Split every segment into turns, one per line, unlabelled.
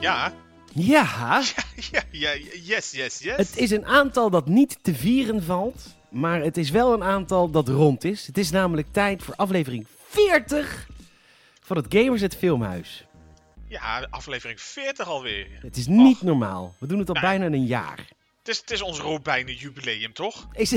Ja,
Ja, ja, yes, yes, yes.
het is een aantal dat niet te vieren valt, maar het is wel een aantal dat rond is. Het is namelijk tijd voor aflevering 40 van het Gamers het Filmhuis.
Ja, aflevering 40 alweer.
Het is niet
Och.
normaal. We doen het al
Nee.
bijna een jaar.
Het is, het is ons Robijn jubileum, toch?
Is,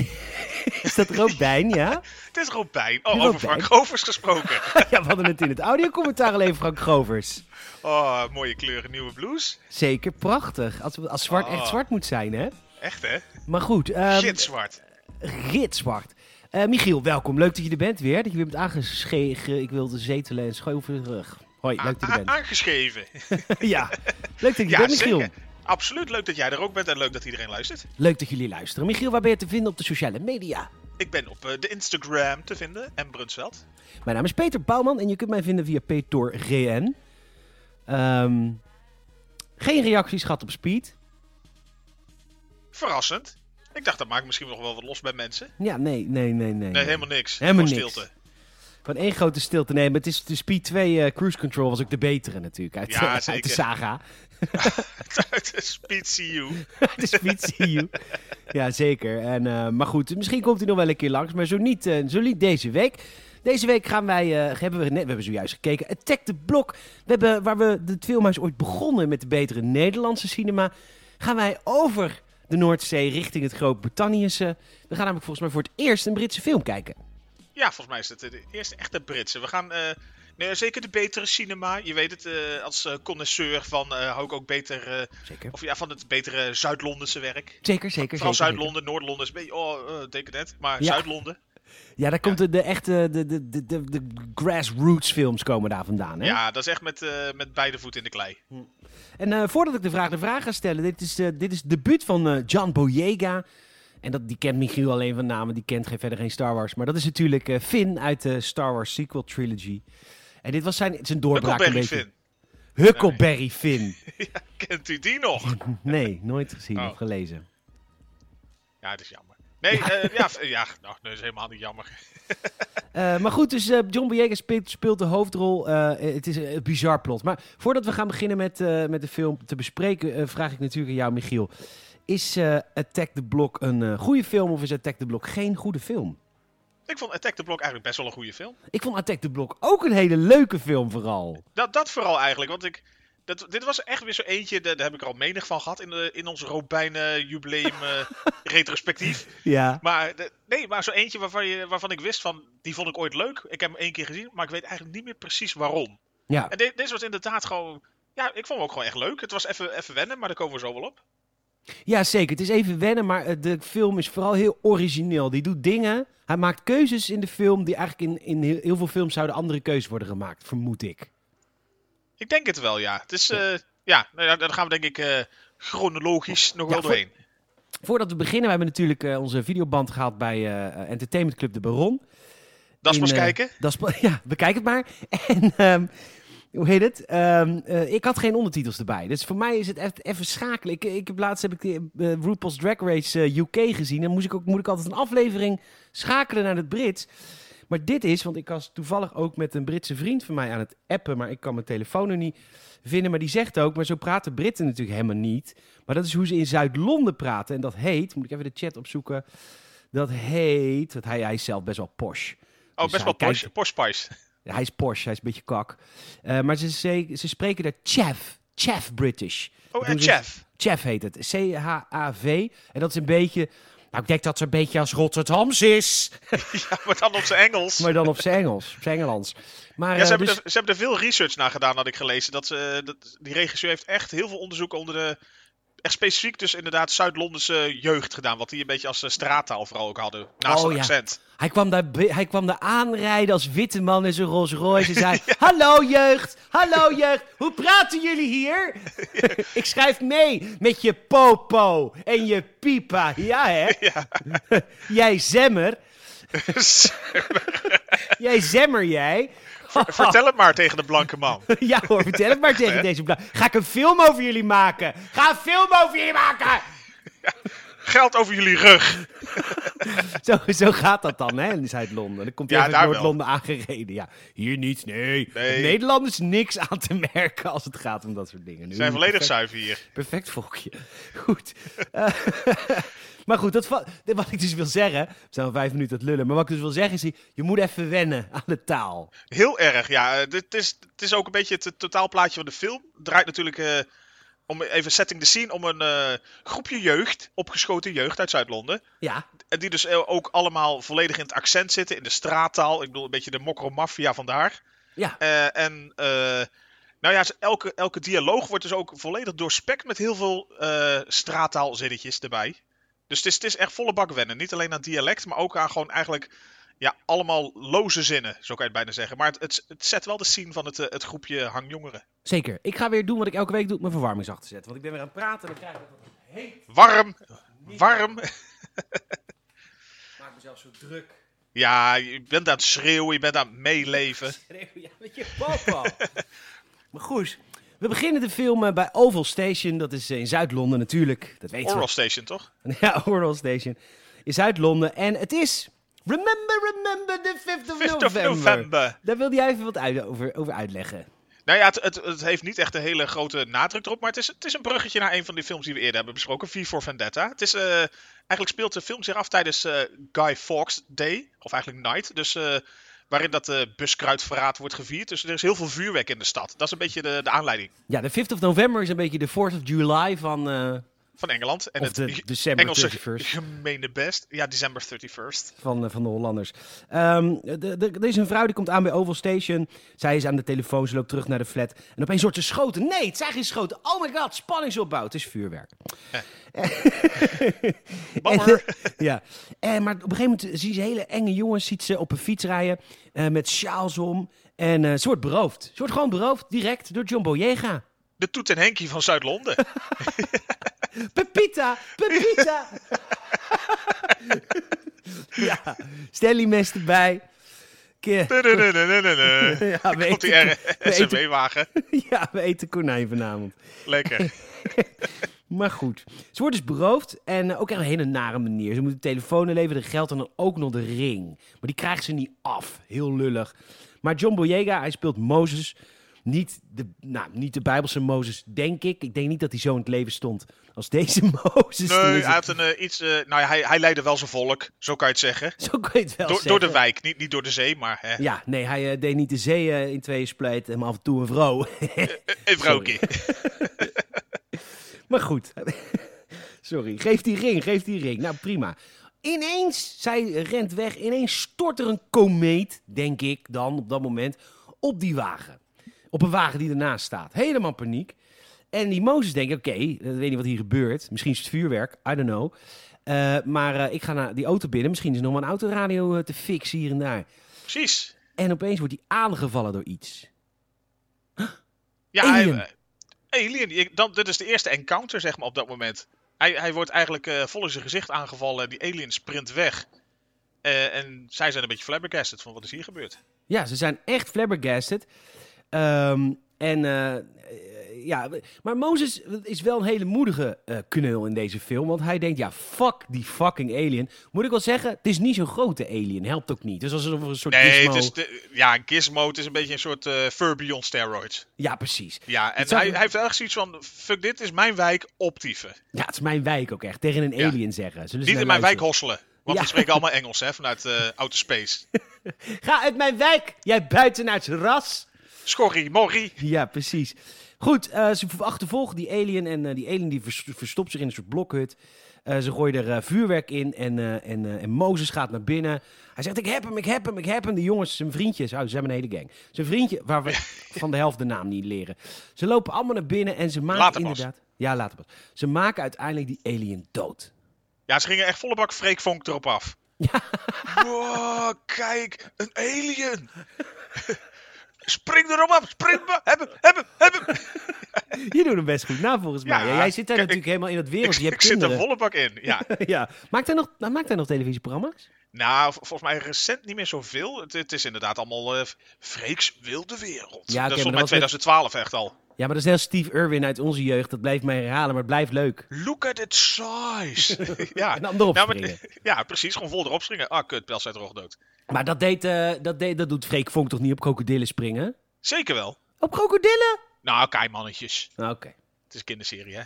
is dat Robijn, ja?
Het is Robijn. Oh,
Robijn.
over Frank Govers gesproken.
Ja, we hadden het in het audiocommentaar alleen Frank Govers.
Oh, mooie kleuren, nieuwe blouse.
Zeker, prachtig. Als, als zwart echt
Oh.
zwart moet zijn, hè?
Echt, hè?
Maar goed, ehm,
Shit, zwart.
gitzwart. Eh, Michiel, welkom. Leuk dat je er bent weer. Dat je weer bent aangeschegen. Ik wilde zetelen en schooien over de rug. Hoi, leuk dat je
A-
er bent.
aangeschreven.
ja, leuk dat je er
Ah. Ja,
bent, Michiel.
zeker. Absoluut leuk dat jij er ook bent en leuk dat iedereen luistert.
Leuk dat jullie luisteren. Michiel, waar ben je te vinden op de sociale media?
Ik ben op eh, de Instagram te vinden en Brunsveld.
Mijn naam is Peter Bouwman en je kunt mij vinden via PetorGN. Ehm geen reacties gehad op Speed.
Verrassend. Ik dacht, dat maakt misschien nog wel wat los bij mensen.
Ja, nee, nee, nee, nee.
Nee, helemaal niks.
Helemaal
Gewoon
niks.
stilte.
Gewoon één grote stilte. Nee, maar het is de Speed 2 eh, Cruise Control was ook de betere natuurlijk. Uit,
Ja,
uit de
zeker.
saga.
Uit de Speed CU.
de Speed CU. Ja, zeker. En, eh, maar goed, misschien komt hij nog wel een keer langs. Maar zo niet, eh, zo niet deze week. Deze week gaan wij, eh, hebben we, net, we hebben zojuist gekeken, Attack the Block. We hebben, waar we het filmhuis ooit begonnen met de betere Nederlandse cinema, gaan wij over de Noordzee richting het Groot-Brittannische. We gaan namelijk volgens mij voor het eerst een Britse film kijken.
Ja, volgens mij is het eh, de eerste echte Britse. We gaan eh, nee, zeker de betere cinema. Je weet het, eh, als eh connoisseur van eh, hou ik ook beter eh,
Zeker.
of ja, van het betere Zuid-Londense werk.
Zeker, zeker,
Vooral
zeker, zeker.
Zuid-Londen, Noord-Londen is een beetje, oh, eh, denk het net. Maar
Ja.
Zuid-Londen,
Ja, daar komt de, de echte, de, de, de, de, de grassroots films komen daar vandaan. Hè?
ja, dat is echt met, eh, met beide voeten in de klei.
En eh, voordat ik de vraag de vraag ga stellen, dit is, eh dit is het debuut van eh John Boyega. En dat, die kent Michiel alleen van naam, want die kent geen, verder geen Star Wars. Maar dat is natuurlijk eh Finn uit de Star Wars sequel trilogy. En dit was zijn, zijn doorbraak een
Huckleberry
beetje.
Finn,
Huckleberry Finn.
kent u die nog?
Nee, nooit gezien
Oh.
of gelezen.
Ja, dat is jammer. Nee, ja, ja, v- ja nou, dat is helemaal niet jammer.
Eh, maar goed, dus eh, John Boyega speelt, speelt de hoofdrol. Eh, het is een bizar plot. Maar voordat we gaan beginnen met, eh, met de film te bespreken, eh, vraag ik natuurlijk aan jou, Michiel. Is eh, Attack the Block een eh, goede film of is Attack the Block geen goede film?
Ik vond Attack the Block eigenlijk best wel een goede film.
Ik vond Attack the Block ook een hele leuke film vooral.
Dat, dat vooral eigenlijk, want ik... Dat, dit was echt weer zo eentje, daar, daar heb ik er al menig van gehad in, de, in ons Robijnen jubileum eh, retrospectief.
Ja.
Maar de- nee, maar zo eentje waarvan, je, waarvan ik wist van, die vond ik ooit leuk. Ik heb hem één keer gezien, maar ik weet eigenlijk niet meer precies waarom.
Ja,
En de- deze was inderdaad gewoon, ja, ik vond hem ook gewoon echt leuk. Het was even, even wennen, maar daar komen we zo wel op.
ja zeker. Het is even wennen, maar eh, de film is vooral heel origineel. Die doet dingen. Hij maakt keuzes in de film die eigenlijk in, in heel, heel veel films zouden andere keuzes worden gemaakt, vermoed ik.
Ik denk het wel, ja. Het is, eh, ja, nou ja, daar gaan we denk ik eh, chronologisch nog wel
Ja, voor-
doorheen.
Voordat we beginnen, we hebben natuurlijk eh, onze videoband gehaald bij eh, Entertainment Club De Baron.
Dat is
In,
maar eens
eh,
kijken. Oh,
Dat is pa- ja, bekijk het maar. En ehm, hoe heet het? Ehm, eh, ik had geen ondertitels erbij. Dus voor mij is het echt even schakelen. Ik, ik heb laatst heb ik die, eh, RuPaul's Drag Race eh, UK gezien. Dan moest ik ook, moet ik altijd een aflevering schakelen naar het Brits. Maar dit is, want ik was toevallig ook met een Britse vriend van mij aan het appen. Maar ik kan mijn telefoon nu niet vinden. Maar die zegt ook, maar zo praten Britten natuurlijk helemaal niet. Maar dat is hoe ze in Zuid-Londen praten. En dat heet, moet ik even de chat opzoeken. Dat heet, want hij, hij is zelf best wel posh.
Oh,
Dus
best wel
hij kijkt-
Porsche, Porsche Spice.
ja, hij is Porsche, hij is een beetje kak. Eh, maar ze, ze, ze spreken daar chef, chef British.
Oh, en
Doen ze-
Chef.
Chef heet het, C-H-A-V. En dat is een beetje, nou ik denk dat ze een beetje als Rotterdams is.
Ja, maar dan op zijn Engels.
Maar dan op zijn Engels, op zijn Engelands. Maar
Ja,
eh,
ze, hebben
dus-
er, ze hebben er veel research naar gedaan, had ik gelezen. Dat, ze, eh, dat, die regisseur heeft echt heel veel onderzoek onder de... Echt specifiek dus inderdaad Zuid-Londense jeugd gedaan. Wat die een beetje als eh, straattaal vooral ook hadden. Naast
Oh,
het
ja.
accent.
hij, kwam daar, bi- hij kwam daar aanrijden als witte man in zijn Rolls Royce. En zei, hallo jeugd, hallo jeugd, hoe praten jullie hier? ik schrijf mee met je popo en je pipa. Ja hè? Jij zemmer.
Dus,
Jij zemmer, jij.
Vertel het maar tegen de blanke man.
Ja hoor, vertel het maar tegen deze bla. Ga ik een film over jullie maken? Ga een film over jullie maken!
Geld over jullie rug.
zo, zo gaat dat dan, hè, in Zuid-Londen. Dan komt hij
Ja,
even uit
daar
Noord-Londen aangereden. Ja, hier niet, nee.
Nee.
Nederlanders niks aan te merken als het gaat om dat soort dingen. Nu,
Ze zijn volledig
perfect,
zuiver hier.
perfect volkje. Goed. Eh, maar goed, dat, va- dit- wat ik dus wil zeggen... We zijn al vijf minuten aan het lullen. Maar wat ik dus wil zeggen is... Je moet even wennen aan de taal.
Heel erg, ja. Eh, Dit is, het is ook een beetje het eh, totaalplaatje van de film. Het draait natuurlijk, eh, om even setting the scene, om een eh, groepje jeugd, opgeschoten jeugd uit Zuid-Londen.
Ja,
En die dus eh, ook allemaal volledig in het accent zitten, in de straattaal. Ik bedoel, een beetje de mokro maffia vandaar.
ja.
Eh, en eh, nou ja, ze- elke, elke dialoog wordt dus ook volledig doorspekt met heel veel eh straattaalzinnetjes erbij. Dus het is, het is echt volle bak wennen. Niet alleen aan dialect, maar ook aan gewoon eigenlijk ja, allemaal loze zinnen, zo kan je het bijna zeggen. Maar het, het, het zet wel de scene van het, eh, het groepje hangjongeren.
Zeker. Ik ga weer doen wat ik elke week doe, mijn verwarming zacht te zetten. Want ik ben weer aan het praten en dan krijg ik dat wat heet.
Warm, warm.
Ik maak mezelf zo druk.
Ja, je bent aan het schreeuwen, je bent aan het meeleven.
Schreeuw, ja, met je papa. maar goed, we beginnen de film eh, bij Oval Station. Dat is eh, in Zuid-Londen natuurlijk. Dat weten
Oral Station, toch?
we. Ja, Oral Station. In Zuid-Londen. En het is... Remember, remember the 5th of
5th of
November.
november.
Daar wilde jij even wat uit- over, over uitleggen.
Nou ja, het, het, het heeft niet echt een hele grote nadruk erop. Maar het is, het is een bruggetje naar een van die films die we eerder hebben besproken. V for Vendetta. Het is, eh, eigenlijk speelt de film zich af tijdens eh, Guy Fawkes Day. Of eigenlijk Night. Dus eh, waarin dat eh buskruidverraad wordt gevierd. Dus er is heel veel vuurwerk in de stad. Dat is een beetje de, de aanleiding
Ja, de 5th of November is een beetje de 4th of July van... eh,
van Engeland. En
Of
het
de
ge-
December
Engelse
31st.
gemeene best. Ja, December 31st.
van, eh, van de Hollanders. Ehm, de- de- er is een vrouw die komt aan bij Oval Station. Zij is aan de telefoon, ze loopt terug naar de flat. En opeens wordt ze schoten. Nee, het zijn geen schoten. Oh my god, spanningsopbouw. Het is vuurwerk.
Bammer.
En, eh, ja. En, maar op een gegeven moment zien ze hele enge jongens ziet ze op een fiets rijden eh, met sjaals om. En eh ze wordt beroofd. Ze wordt gewoon beroofd, direct, door John Boyega.
De Toet en Henkie van Zuid-Londen.
Pepita, Pepita. ja, Stanley Mes erbij. Ke-
Tududududududu.
Ja, we
Komt die
eten- we eten-
SMW-wagen.
Ja, we eten konijn vanavond.
Lekker.
Maar goed, ze wordt dus beroofd en eh, ook echt een hele nare manier. Ze moet de telefoon leveren, de geld en dan ook nog de ring. Maar die krijgt ze niet af. Heel lullig. Maar John Boyega, hij speelt Mozes. Niet de, nou, niet de Bijbelse Mozes, denk ik. Ik denk niet dat hij zo in het leven stond als deze Mozes. Dus Dan
Nee,
is
hij
het-
had een eh, iets. eh, nou ja, hij, hij leidde wel zijn volk, zo kan je het zeggen.
Zo kan je het wel
Door,
zeggen.
door de wijk, niet, niet door de zee, maar. Hè.
Ja, nee, hij eh, deed niet de zee eh, in tweeën splijten, maar af en toe een vrouw.
Een vrouwtje.
Maar goed. Sorry. Geef die ring, geef die ring. Nou, prima. Ineens, zij rent weg. Ineens stort er een komeet, denk ik dan, op dat moment, op die wagen. Op een wagen die ernaast staat. Helemaal paniek. En die Mozes denkt, oké, eh, ik weet niet wat hier gebeurt. Misschien is het vuurwerk, I don't know. Eh, maar eh, ik ga naar die auto binnen. Misschien is er nog wel een autoradio eh, te fixen hier en daar.
Precies.
En opeens wordt hij aangevallen door iets.
Ja,
Alien.
Hij, eh, alien. Ik- dan, dit is de eerste encounter, zeg maar, op dat moment. Hij, hij wordt eigenlijk eh, vol in zijn gezicht aangevallen. Die alien sprint weg. Eh, en zij zijn een beetje flabbergasted van wat is hier gebeurd.
Ja, ze zijn echt flabbergasted. Ehm, en eh, eh, ja, maar Mozes is wel een hele moedige eh knul in deze film. Want hij denkt, ja, fuck die fucking alien. Moet ik wel zeggen, het is niet zo'n grote alien. Helpt ook niet. Dus als er een soort
Nee,
gizmo-
het is de- ja, een gizmo. Het is een beetje een soort eh Furby on steroids.
Ja, precies.
Ja, en
Het zou-
hij, hij heeft ergens zoiets van: fuck, dit is mijn wijk optieven.
Ja, het is mijn wijk ook echt. Tegen een
Ja.
alien zeggen. Zullen ze
Niet in
naar
mijn wijk
luisteren?
hosselen. Want
Ja.
die spreken allemaal Engels, hè, vanuit eh outer space.
Ga uit mijn wijk, jij buitenaards ras.
Schorrie, morrie.
Ja, precies. Goed, eh, ze achtervolgen die alien en eh, die alien die vers- verstopt zich in een soort blokhut. Eh, ze gooien er eh, vuurwerk in en, eh, en, eh, en Mozes gaat naar binnen. Hij zegt, ik heb hem, ik heb hem, ik heb hem. Die jongens, zijn vriendjes, oh, ze hebben een hele gang. Zijn vriendje, waar we van de helft de naam niet leren. Ze lopen allemaal naar binnen en ze maken
Later pas.
inderdaad... Ja, later pas. Ze maken uiteindelijk die alien dood.
Ja, ze gingen echt volle bak Freek Vonk erop af. Wow, kijk, een alien. spring erop af, spring erop af. Heb hem, heb hem, heb hem.
Je doet hem best goed na, volgens
Ja,
mij. Ja, jij zit daar
kijk,
natuurlijk helemaal in dat
Ik,
wereldje. Je hebt
ik zit er
kinderen.
volle bak in, ja.
ja. Maakt hij nog, nou, maakt hij nog televisieprogramma's?
Nou, vol- volgens mij recent niet meer zoveel. Het, het is inderdaad allemaal eh Freeks wilde wereld.
Ja,
dat
oké, maar
is
dat
volgens
was
mij
met-
2012 echt al.
Ja, maar dat is net als Steve Irwin uit onze jeugd. Dat blijft mij herhalen, maar het blijft leuk.
Look at its size. ja.
En dan erop
Nou, maar-
springen.
ja, precies. Gewoon vol erop springen. Ah, kut, Pels uit Roog dood.
Maar dat, deed, eh, dat, deed, dat doet Freek Vonk toch niet op krokodillen springen?
Zeker wel.
Op krokodillen?
Nou, keimannetjes.
Nou, Oké.
Het is een kinderserie, hè?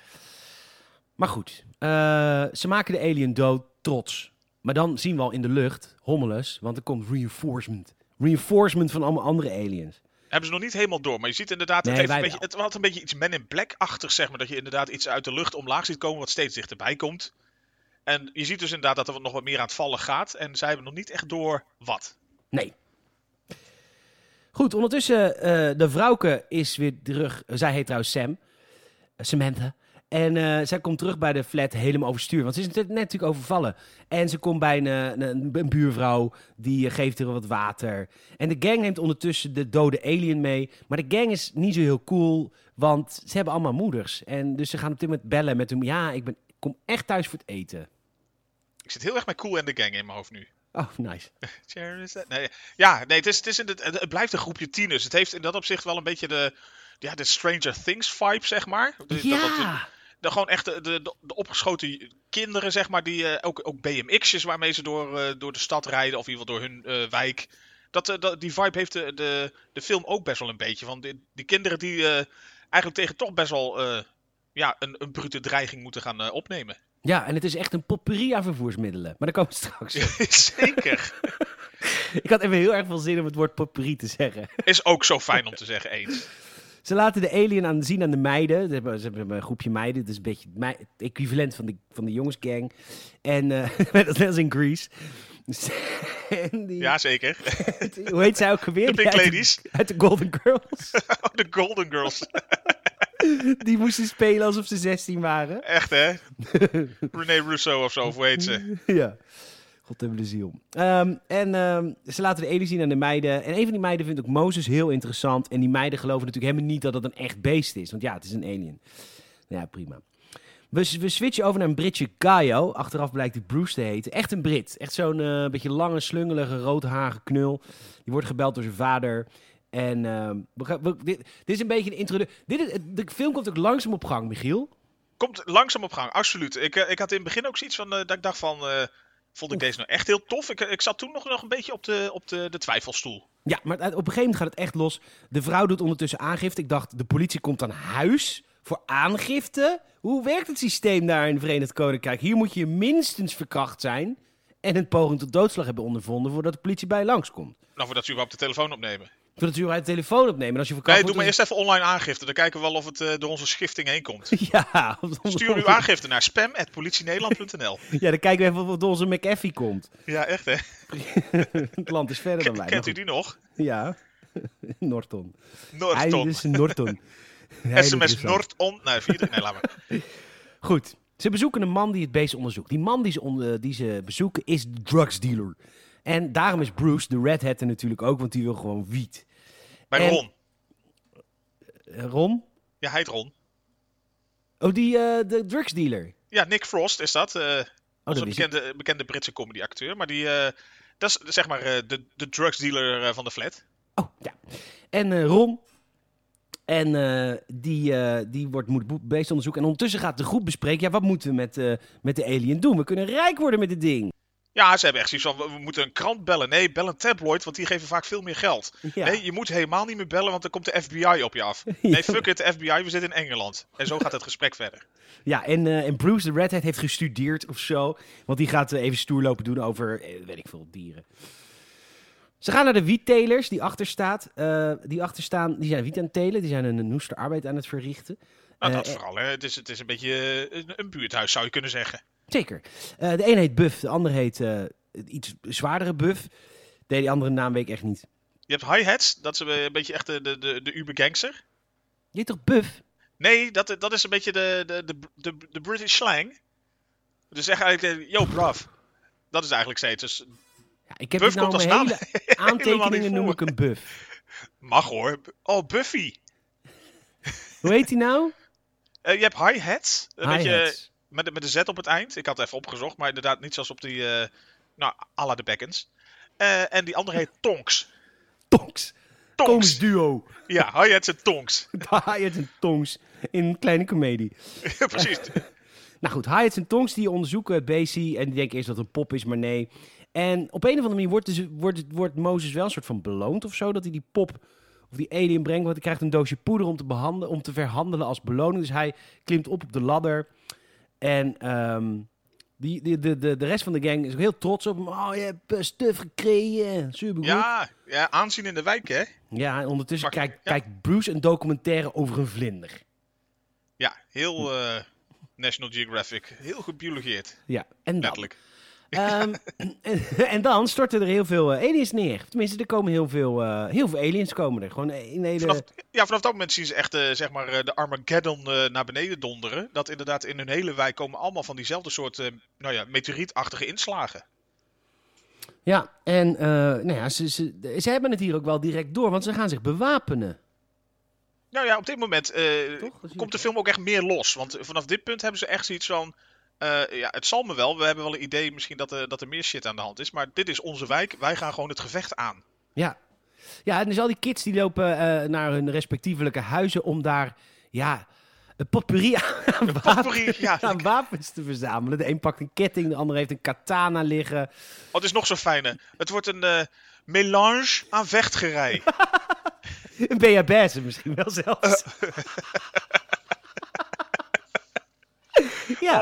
Maar goed, eh, ze maken de alien dood trots. Maar dan zien we al in de lucht hommeles, want er komt reinforcement. Reinforcement van allemaal andere aliens.
Hebben ze nog niet helemaal door, maar je ziet inderdaad, het,
Nee,
heeft een
wij
beetje, het had een beetje iets men in black-achtig, zeg maar. Dat je inderdaad iets uit de lucht omlaag ziet komen, wat steeds dichterbij komt. En je ziet dus inderdaad dat er nog wat meer aan het vallen gaat. En zij hebben nog niet echt door wat.
Nee. Goed, ondertussen, eh, de vrouwke is weer terug. Zij heet trouwens Sam. Eh, Samantha. En eh, zij komt terug bij de flat helemaal overstuur. Want ze is net net natuurlijk overvallen. En ze komt bij een, eh, een, een buurvrouw. Die eh, geeft haar wat water. En de gang neemt ondertussen de dode alien mee. Maar de gang is niet zo heel cool. Want ze hebben allemaal moeders. En dus ze gaan op dit moment bellen met hem. Ja, ik, ben, ik kom echt thuis voor het eten.
Ik zit heel erg met Cool en de Gang in mijn hoofd nu.
Oh, nice.
Chair is that- Nee. Ja, nee, het, is, het, is in het, het blijft een groepje tieners. Het heeft in dat opzicht wel een beetje de, ja, de Stranger Things vibe, zeg maar. Dus dat- dat-
Ja!
de, gewoon echt de, de, de opgeschoten kinderen, zeg maar, die eh, ook, ook BMX'jes waarmee ze door, eh, door de stad rijden of in ieder geval door hun eh, wijk. Dat, eh, dat, die vibe heeft de, de, de film ook best wel een beetje. Van die, die kinderen die eh, eigenlijk tegen toch best wel eh, ja, een, een brute dreiging moeten gaan eh, opnemen.
Ja, en het is echt een potpourri aan vervoersmiddelen. Maar daar komen we straks op.
Zeker.
Ik had even heel erg veel zin om het woord potpourri te zeggen.
Is ook zo fijn om te zeggen eens.
Ze laten de alien aan, zien aan de meiden. Ze hebben, ze hebben een groepje meiden. Dat is een beetje het, mei- het equivalent van de, van de jongensgang. En eh, dat is net als in Greece. En die,
Ja, zeker.
Hoe heet zij ook weer?
De
Die
Pink
uit
Ladies.
Uit de Golden Girls.
Oh, De Golden Girls.
Die moesten spelen alsof ze 16 waren.
Echt, hè? René Russo of zo, of hoe heet ze?
ja. God hebben de ziel. Ehm, en ehm, ze laten de alien zien aan de meiden. En een van die meiden vindt ook Mozes heel interessant. En die meiden geloven natuurlijk helemaal niet dat dat een echt beest is. Want ja, het is een alien. Nou Ja, prima. We, we switchen over naar een Britje Gaio. Achteraf blijkt die Bruce te heten. Echt een Brit. Echt zo'n eh, beetje lange, slungelige, roodharige knul. Die wordt gebeld door zijn vader. En ehm, we gaan, we- dit, dit is een beetje een introductie. Dit is, de film komt ook langzaam op gang, Michiel.
Komt langzaam op gang, absoluut. Ik, eh, ik had in het begin ook zoiets van, eh, dat ik dacht van, eh, vond ik deze nou echt heel tof? Ik, ik zat toen nog, nog een beetje op de, op de, de twijfelstoel.
Ja, maar het- op een gegeven moment gaat het echt los. De vrouw doet ondertussen aangifte. Ik dacht, de politie komt aan huis voor aangifte. Hoe werkt het systeem daar in het Verenigd Koninkrijk? Hier moet je minstens verkracht zijn en een poging tot doodslag hebben ondervonden voordat de politie bij je langskomt.
Nou, voordat ze überhaupt de telefoon opnemen.
Voordat ze je uit de telefoon opnemen. Als je verkracht
Nee, doe maar
wordt,
eerst even online aangifte. Dan kijken we wel of het eh, door onze schifting heen komt.
dan- Ja,
Stuur uw aangifte naar spam.politienederland.nl
ja, dan kijken we even of het onze McAfee komt.
Ja, echt hè?
Het land is verder dan wij.
Kent u
Maar
die nog?
goed, Ja, Norton. Hij
Norton.
is Norton. Hij
SMS
is zo.
Norton. Nee, vierde. Nee, laat maar.
Goed. Ze bezoeken een man die het beest onderzoekt. Die man die ze, on- eh, die ze bezoeken is de drugsdealer. En daarom is Bruce, de Red Hat, er natuurlijk ook, want die wil gewoon wiet.
Bij
En-
Ron.
Eh, Ron?
Ja, hij heet Ron.
Oh, die eh, de drugsdealer.
Ja, Nick Frost is dat. eh,
Oh,
Onze
dat is het.
bekende, bekende Britse comedyacteur. Maar die, eh, dat is zeg maar eh, de, de drugsdealer eh, van de flat.
Oh, ja. En eh, Ron. En eh, die, eh, die wordt, moet het beest onderzoeken. En ondertussen gaat de groep bespreken, ja, wat moeten we met, eh, met de alien doen? We kunnen rijk worden met dit ding.
Ja, ze hebben echt zoiets van, we, we moeten een krant bellen. Nee, bel een tabloid, want die geven vaak veel meer geld.
Ja.
Nee, je moet helemaal niet meer bellen, want dan komt de FBI op je af. Nee, fuck it, de FBI, we zitten in Engeland. En zo gaat het gesprek verder.
Ja, en, eh, en Bruce de Red Hat heeft gestudeerd of zo. Want die gaat eh, even stoer lopen doen over, eh, weet ik veel, dieren. Ze gaan naar de wiettelers die achter staat. eh, die achter staan, die zijn wiet aan het telen. Die zijn een noester arbeid aan het verrichten.
Nou,
Eh,
dat
eh,
vooral, hè. Het is, het is een beetje eh, een, een buurthuis, zou je kunnen zeggen.
Zeker. Eh, de een heet Buff, de ander heet eh, iets zwaardere Buff. Nee, die andere naam weet ik echt niet.
Je hebt hi-hats, dat is een beetje echt de, de, de, de uber-gangster.
Je heet toch Buff?
Nee, dat, dat is een beetje de, de, de, de, de British slang. Dus zeg eigenlijk, eh, yo, bruv. Dat is eigenlijk steeds. Dus
Ja, ik heb
Buff
dit nou
komt
mijn
als
hele aantekeningen noem ik een Buff.
Mag hoor. Oh, Buffy.
Hoe heet hij nou?
Eh, je hebt hi-hats. Een beetje
Hi-hats.
met, de- met de Z op het eind. Ik had het even opgezocht, maar inderdaad niet zoals op die, eh, Nou, à la de Beckens. Eh, en die andere heet Tonks.
Tonks. Komisch
Tonks.
duo.
Ja, Hayats en Tonks.
Hyatt en Tonks in een kleine komedie.
Precies.
Nou goed, Hyatt en Tonks die onderzoeken Basie en die denken eerst dat het een pop is, maar nee. En op een of andere manier wordt, dus, wordt, wordt Mozes wel een soort van beloond of zo, dat hij die pop of die alien brengt, want hij krijgt een doosje poeder om te, behandelen, om te verhandelen als beloning. Dus hij klimt op op de ladder en ehm, die, die, de, de, de rest van de gang is ook heel trots op hem. Oh, je hebt eh, stuff gekregen, supergoed.
Ja, ja, aanzien in de wijk, hè?
Ja, en ondertussen
Mag ik-
kijkt
ja.
kijkt Bruce een documentaire over een vlinder.
Ja, heel eh, National Geographic. Heel gebiologeerd,
Ja, en dat.
letterlijk.
Ehm, en, en dan storten er heel veel eh, aliens neer. Tenminste, er komen heel veel, eh, heel veel aliens komen er. Gewoon in de hele...
Vanaf, ja, vanaf dat moment zien ze echt eh, zeg maar, eh, de Armageddon eh, naar beneden donderen. Dat inderdaad in hun hele wijk komen allemaal van diezelfde soort eh, nou ja, meteorietachtige inslagen.
Ja, en eh, nou ja, ze, ze, ze hebben het hier ook wel direct door, want ze gaan zich bewapenen.
Nou ja, op dit moment eh,
Toch? Dat zie ik
komt de
wel.
film ook echt meer los. Want vanaf dit punt hebben ze echt zoiets van... eh, ja, het zal me wel. We hebben wel een idee misschien dat er, dat er meer shit aan de hand is. Maar dit is onze wijk. Wij gaan gewoon het gevecht aan.
Ja. Ja, en dus al die kids die lopen eh, naar hun respectievelijke huizen om daar, ja, een potpourri aan,
potpourri,
wapens-
ja.
aan wapens te verzamelen. De een pakt een ketting, de ander heeft een katana liggen.
Oh, het is nog zo'n fijne. Het wordt een eh, melange aan vechtgerij.
Een BHB's misschien wel zelfs.
Eh.
ja.
Oh,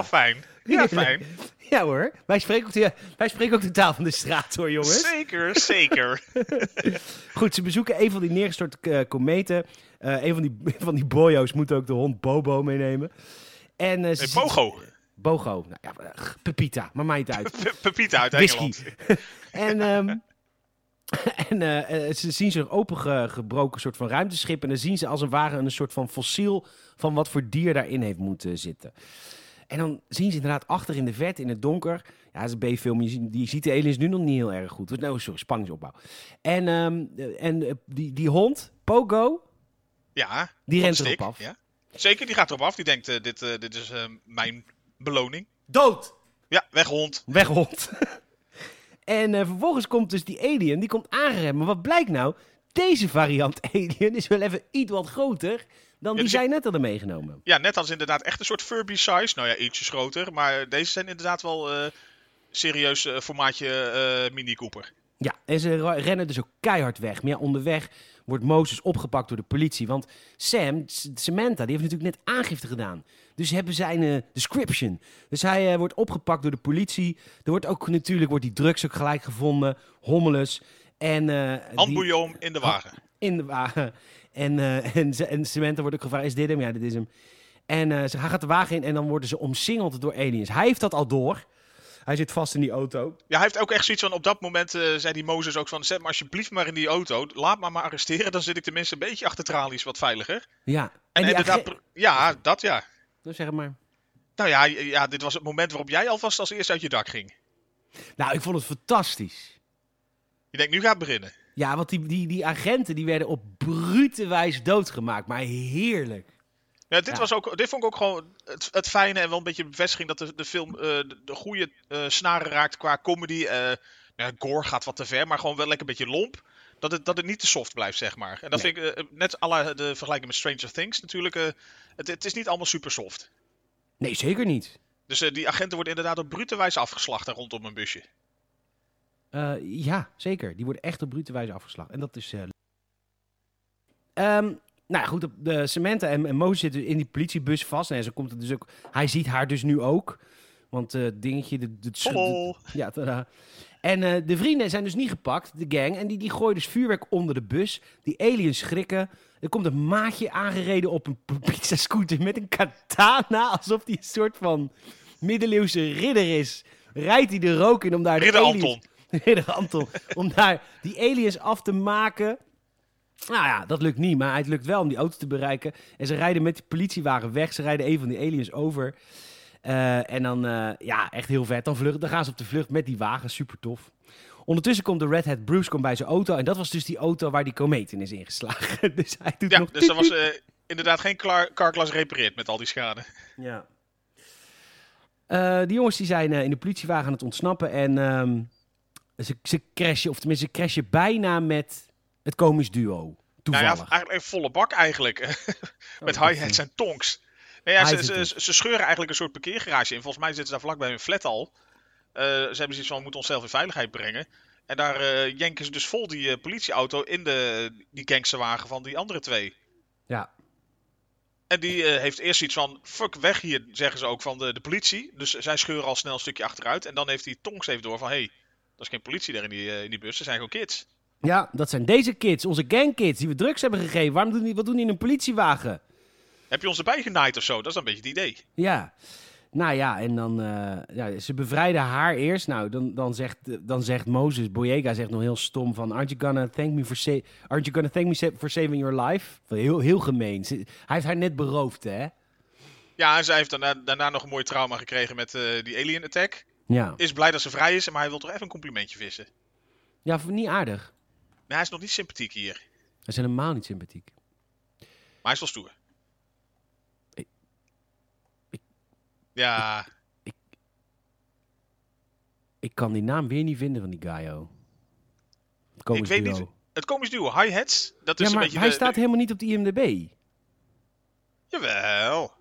fijn. Ja, fijn.
Ja hoor. Wij spreken, ook de, wij spreken ook de taal van de straat hoor, jongens.
Zeker, zeker.
Goed, ze bezoeken een van die neergestort eh, kometen. Eh, een van die, van die boyo's moet ook de hond Bobo meenemen. En, eh, ze-
Hey, Pogo.
Bogo. Nou, ja, eh, Pepita, maar maakt niet uit.
Pe- Pepita uit
Whisky.
Engeland.
en ehm, en eh, eh, ze zien zo'n opengebroken soort van ruimteschip. En dan zien ze als een ware een soort van fossiel van wat voor dier daarin heeft moeten zitten. En dan zien ze inderdaad achter in de verte, in het donker. Ja, het is een B-film. Je, ziet- je ziet de aliens nu nog niet heel erg goed. Dus, nou, sorry, spanningsopbouw. En, ehm, eh, en eh, die, die hond, Pogo,
Ja.
die rent
Stick,
erop af.
Ja. Zeker, die gaat erop af. Die denkt, eh, dit, eh, dit is eh, mijn beloning.
Dood!
Ja, weg hond.
Weghond. en eh, vervolgens komt dus die alien, die komt aangeremd. Maar wat blijkt nou? Deze variant alien is wel even iets wat groter dan die
dus je-
zij net hadden meegenomen.
Ja, net als inderdaad echt een soort Furby size. Nou ja, ietsjes groter. Maar deze zijn inderdaad wel eh, serieus eh, formaatje eh, Mini Cooper.
Ja, en ze ra- rennen dus ook keihard weg. Maar ja, onderweg wordt Mozes opgepakt door de politie. Want Sam, S- Samantha, die heeft natuurlijk net aangifte gedaan. Dus ze hebben zijn eh, description. Dus hij eh, wordt opgepakt door de politie. Er wordt ook natuurlijk wordt die drugs ook gelijk gevonden. Hommelus. En, eh, die-
Handboeien om in de wagen.
in de wagen. En, eh en, ze- en Samantha wordt ook gevraagd, is dit hem? Ja, dit is hem. En eh, ze, hij gaat de wagen in en dan worden ze omsingeld door aliens. Hij heeft dat al door. Hij zit vast in die auto.
Ja, hij heeft ook echt zoiets van, op dat moment eh, zei die Mozes ook van, zet me alsjeblieft maar in die auto. Laat me maar arresteren, dan zit ik tenminste een beetje achter tralies wat veiliger.
Ja. En,
En,
die
inderdaad,
agent-
pr- ja, dat ja.
Nou, zeg het maar.
Nou ja, ja, dit was het moment waarop jij alvast als eerst uit je dak ging.
Nou, ik vond het fantastisch.
Je denkt, nu gaat het beginnen.
Ja, want die, die, die agenten die werden op brute wijze doodgemaakt. Maar heerlijk.
Ja, dit,
Ja.
Was ook, dit vond ik ook gewoon het, het fijne en wel een beetje een bevestiging dat de, de film eh, de, de goede eh, snaren raakt qua comedy. eh nou, gore gaat wat te ver, maar gewoon wel lekker een beetje lomp. Dat het, dat het niet te soft blijft, zeg maar. En dat
Nee.
vind ik eh, net à la de vergelijking met Stranger Things natuurlijk. eh, het, het is niet allemaal super soft.
Nee, zeker niet.
Dus eh, die agenten worden inderdaad op brute wijze afgeslacht daar rondom een busje.
Eh, ja, zeker. Die worden echt op brute wijze afgeslagen. En dat is. eh, Ehm, nou ja, goed, de, de Samantha en, en Mozes zitten in die politiebus vast. En ze komt het dus ook. Hij ziet haar dus nu ook. Want eh dingetje. De, de, de-
Hallo.
ja, tada. En eh, de vrienden zijn dus niet gepakt, de gang. En die, die gooien dus vuurwerk onder de bus. Die aliens schrikken. Er komt een maatje aangereden op een p- pizza scooter met een katana. Alsof die een soort van middeleeuwse ridder is. Rijdt hij de rook in om daar de
Ridder
aliens-
Anton.
Ridder Anton. om daar die aliens af te maken. Nou ja, dat lukt niet, maar het lukt wel om die auto te bereiken. En ze rijden met die politiewagen weg. Ze rijden een van die aliens over. Eh, en dan, eh, ja, echt heel vet. Dan, vlucht, dan gaan ze op de vlucht met die wagen. Super tof. Ondertussen komt de Red Hat Bruce komt bij zijn auto. En dat was dus die auto waar die komeet in is ingeslagen. Dus hij doet
Ja,
nog...
dus er was eh, inderdaad geen klar- carglass repareerd met al die schade.
Ja. Eh, die jongens die zijn eh, in de politiewagen aan het ontsnappen. En ehm, Ze, ze crashen, of tenminste, ze crashen bijna met het komisch duo.
Nou ja,
Toevallig.
eigenlijk een volle bak eigenlijk. met
Oh, dat,
hi-hats
eh,
en tongs. Nou ja, ze,
Hi-hats en
ze, ze scheuren eigenlijk een soort parkeergarage in. Volgens mij zitten ze daar vlakbij hun flat al. Eh, ze hebben zoiets van, we moeten onszelf in veiligheid brengen. En daar eh, jenken ze dus vol die eh, politieauto in de, die gangsterwagen van die andere twee.
Ja,
En die eh, heeft eerst iets van, fuck weg hier, zeggen ze ook van de, de politie. Dus zij scheuren al snel een stukje achteruit. En dan heeft die tongs even door van, hé, hey, dat is geen politie daar in die, eh, in die bus. Dat zijn gewoon kids.
ja, dat zijn deze kids, onze gangkids, die we drugs hebben gegeven. Waarom doen die, wat doen die in een politiewagen?
Heb je ons erbij genaaid of zo? Dat is een beetje het idee.
Ja. Nou ja, en dan... eh, ja, ze bevrijden haar eerst. Nou, dan, dan zegt, dan zegt Moses, Boyega zegt nog heel stom van... Aren't you gonna thank me for, sa- aren't you gonna thank me sa- for saving your life? Heel, heel gemeen. Ze- hij heeft haar net beroofd, hè?
Ja, en zij heeft daarna, daarna nog een mooi trauma gekregen met eh, die alien attack.
Ja.
Is blij dat ze vrij is, maar hij wil toch even een complimentje vissen.
Ja, v- niet aardig.
Maar hij is nog niet sympathiek hier.
Hij is helemaal niet sympathiek.
Maar hij is wel stoer.
Ik- ik-
Ja,
Ik kan die naam weer niet vinden van die Gaio. Het komisch
weet
duo.
niet- het komisch duo, hi-hats, dat is
ja,
een
maar
beetje
hij
de-
staat
de-
helemaal niet op de IMDb.
Jawel.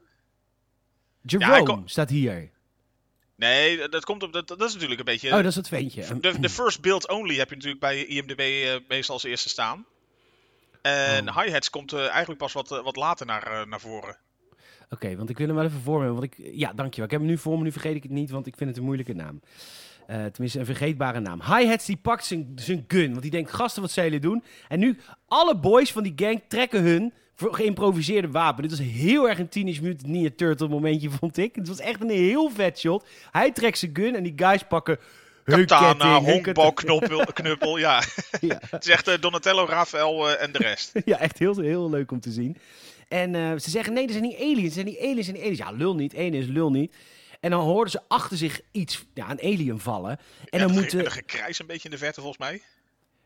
Jerome
hij kon-
staat hier.
Nee, dat, komt op, dat, dat is natuurlijk een beetje...
Oh, dat is dat ventje.
de, de first build only heb je natuurlijk bij IMDb eh, meestal als eerste staan. En
Oh.
hi-hats komt eh, eigenlijk pas wat, eh, wat later naar, eh, naar voren.
Oké, want ik wil hem wel even voor me. hebben, Want ik, ja, dankjewel. Ik heb hem nu voor me, nu vergeet ik het niet, want ik vind het een moeilijke naam. Eh, tenminste, een vergeetbare naam. Hi-Hats die pakt zijn, zijn gun, want die denkt, gasten, wat zij jullie doen? En nu, alle boys van die gang trekken hun voor geïmproviseerde wapen. Dit was heel erg een Teenage Mutant Ninja Turtle momentje, vond ik. Het was echt een heel vet shot. Hij trekt zijn gun en die guys pakken hun ketting,
Katana,
hun
honkbal,
ketting.
knuppel, eh, knuppel, ja.
Ja.
Het is echt eh, Donatello, Raphaël eh, en de rest.
Ja, echt heel, heel leuk om te zien. En eh, ze zeggen, nee, er zijn niet aliens, er zijn niet aliens, er zijn niet aliens. Ja, lul niet, één is lul niet. En dan hoorden ze achter zich iets, ja, een alien vallen. En
Ja,
dan
dat ge-
moet, eh,
dat gekrijs een beetje in de verte volgens mij.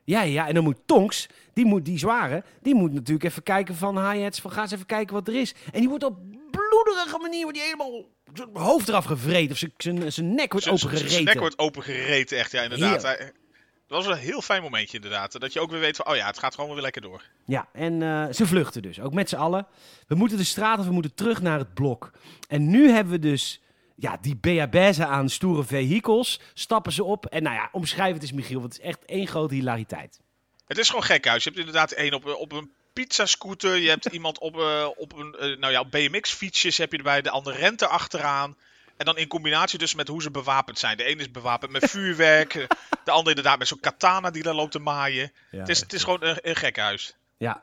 ja, ja, en dan moet Tonks, die, moet, die zware, die moet natuurlijk even kijken van hi-hats, van ga eens even kijken wat er is. En die wordt op bloederige manier, wordt die helemaal zijn hoofd eraf gevreten of zijn- zijn- zijn nek wordt
Z- z- z-
opengereten.
snack wordt opengereten, echt. Ja, inderdaad. Hij- dat was een heel fijn momentje, inderdaad. Dat je ook weer weet van, oh ja, het gaat gewoon weer lekker door.
Ja, en eh, ze vluchten dus, ook met z'n allen. We moeten de straat of we moeten terug naar het blok. En nu hebben we dus ja, die beabese aan stoere vehicles. Stappen ze op en nou ja, omschrijf het eens Michiel, want het is echt één grote hilariteit.
Het is gewoon gekhuis. Je hebt inderdaad één op, eh, op een pizzascooter. Je hebt iemand op, eh, op een, eh, nou ja, op BMX-fietsjes heb je erbij. De ander rent er achteraan. En dan in combinatie dus met hoe ze bewapend zijn. De een is bewapend met vuurwerk. eh, de ander inderdaad met zo'n katana die daar loopt te maaien.
Ja,
het, is, het is gewoon een, een gekhuis.
Ja.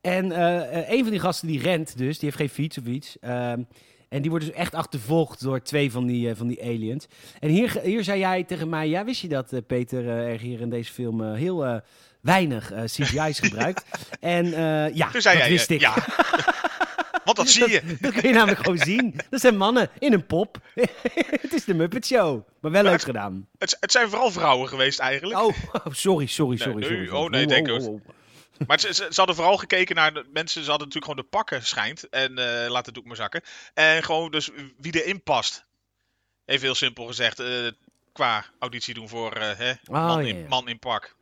En eh, eh, een van die gasten die rent dus, die heeft geen fiets of iets. ehm, en die wordt dus echt achtervolgd door twee van die, eh, van die aliens. En hier, ge- hier zei jij tegen mij, ja wist je dat eh, Peter eh, er hier in deze film eh, heel eh, weinig eh, CGI's gebruikt. En eh, ja,
Toen zei
dat
jij,
wist
eh,
ik.
ja. Want dat zie je.
Dat kun je namelijk gewoon zien. Dat zijn mannen in een pop. het is de Muppet Show. Maar wel leuk
het-
gedaan.
Het, het zijn vooral vrouwen geweest eigenlijk.
Oh, sorry, sorry, sorry.
nee,
sorry,
oh,
sorry.
nee, denk ik.
oh.
Maar ze, ze, ze hadden vooral gekeken naar de mensen. Ze hadden natuurlijk gewoon de pakken, schijnt. En eh, laat het doek maar zakken. En gewoon dus wie erin past. Even heel simpel gezegd. eh, qua auditie doen voor eh, hè, man,
Ah, ja, ja.
in, man in pak.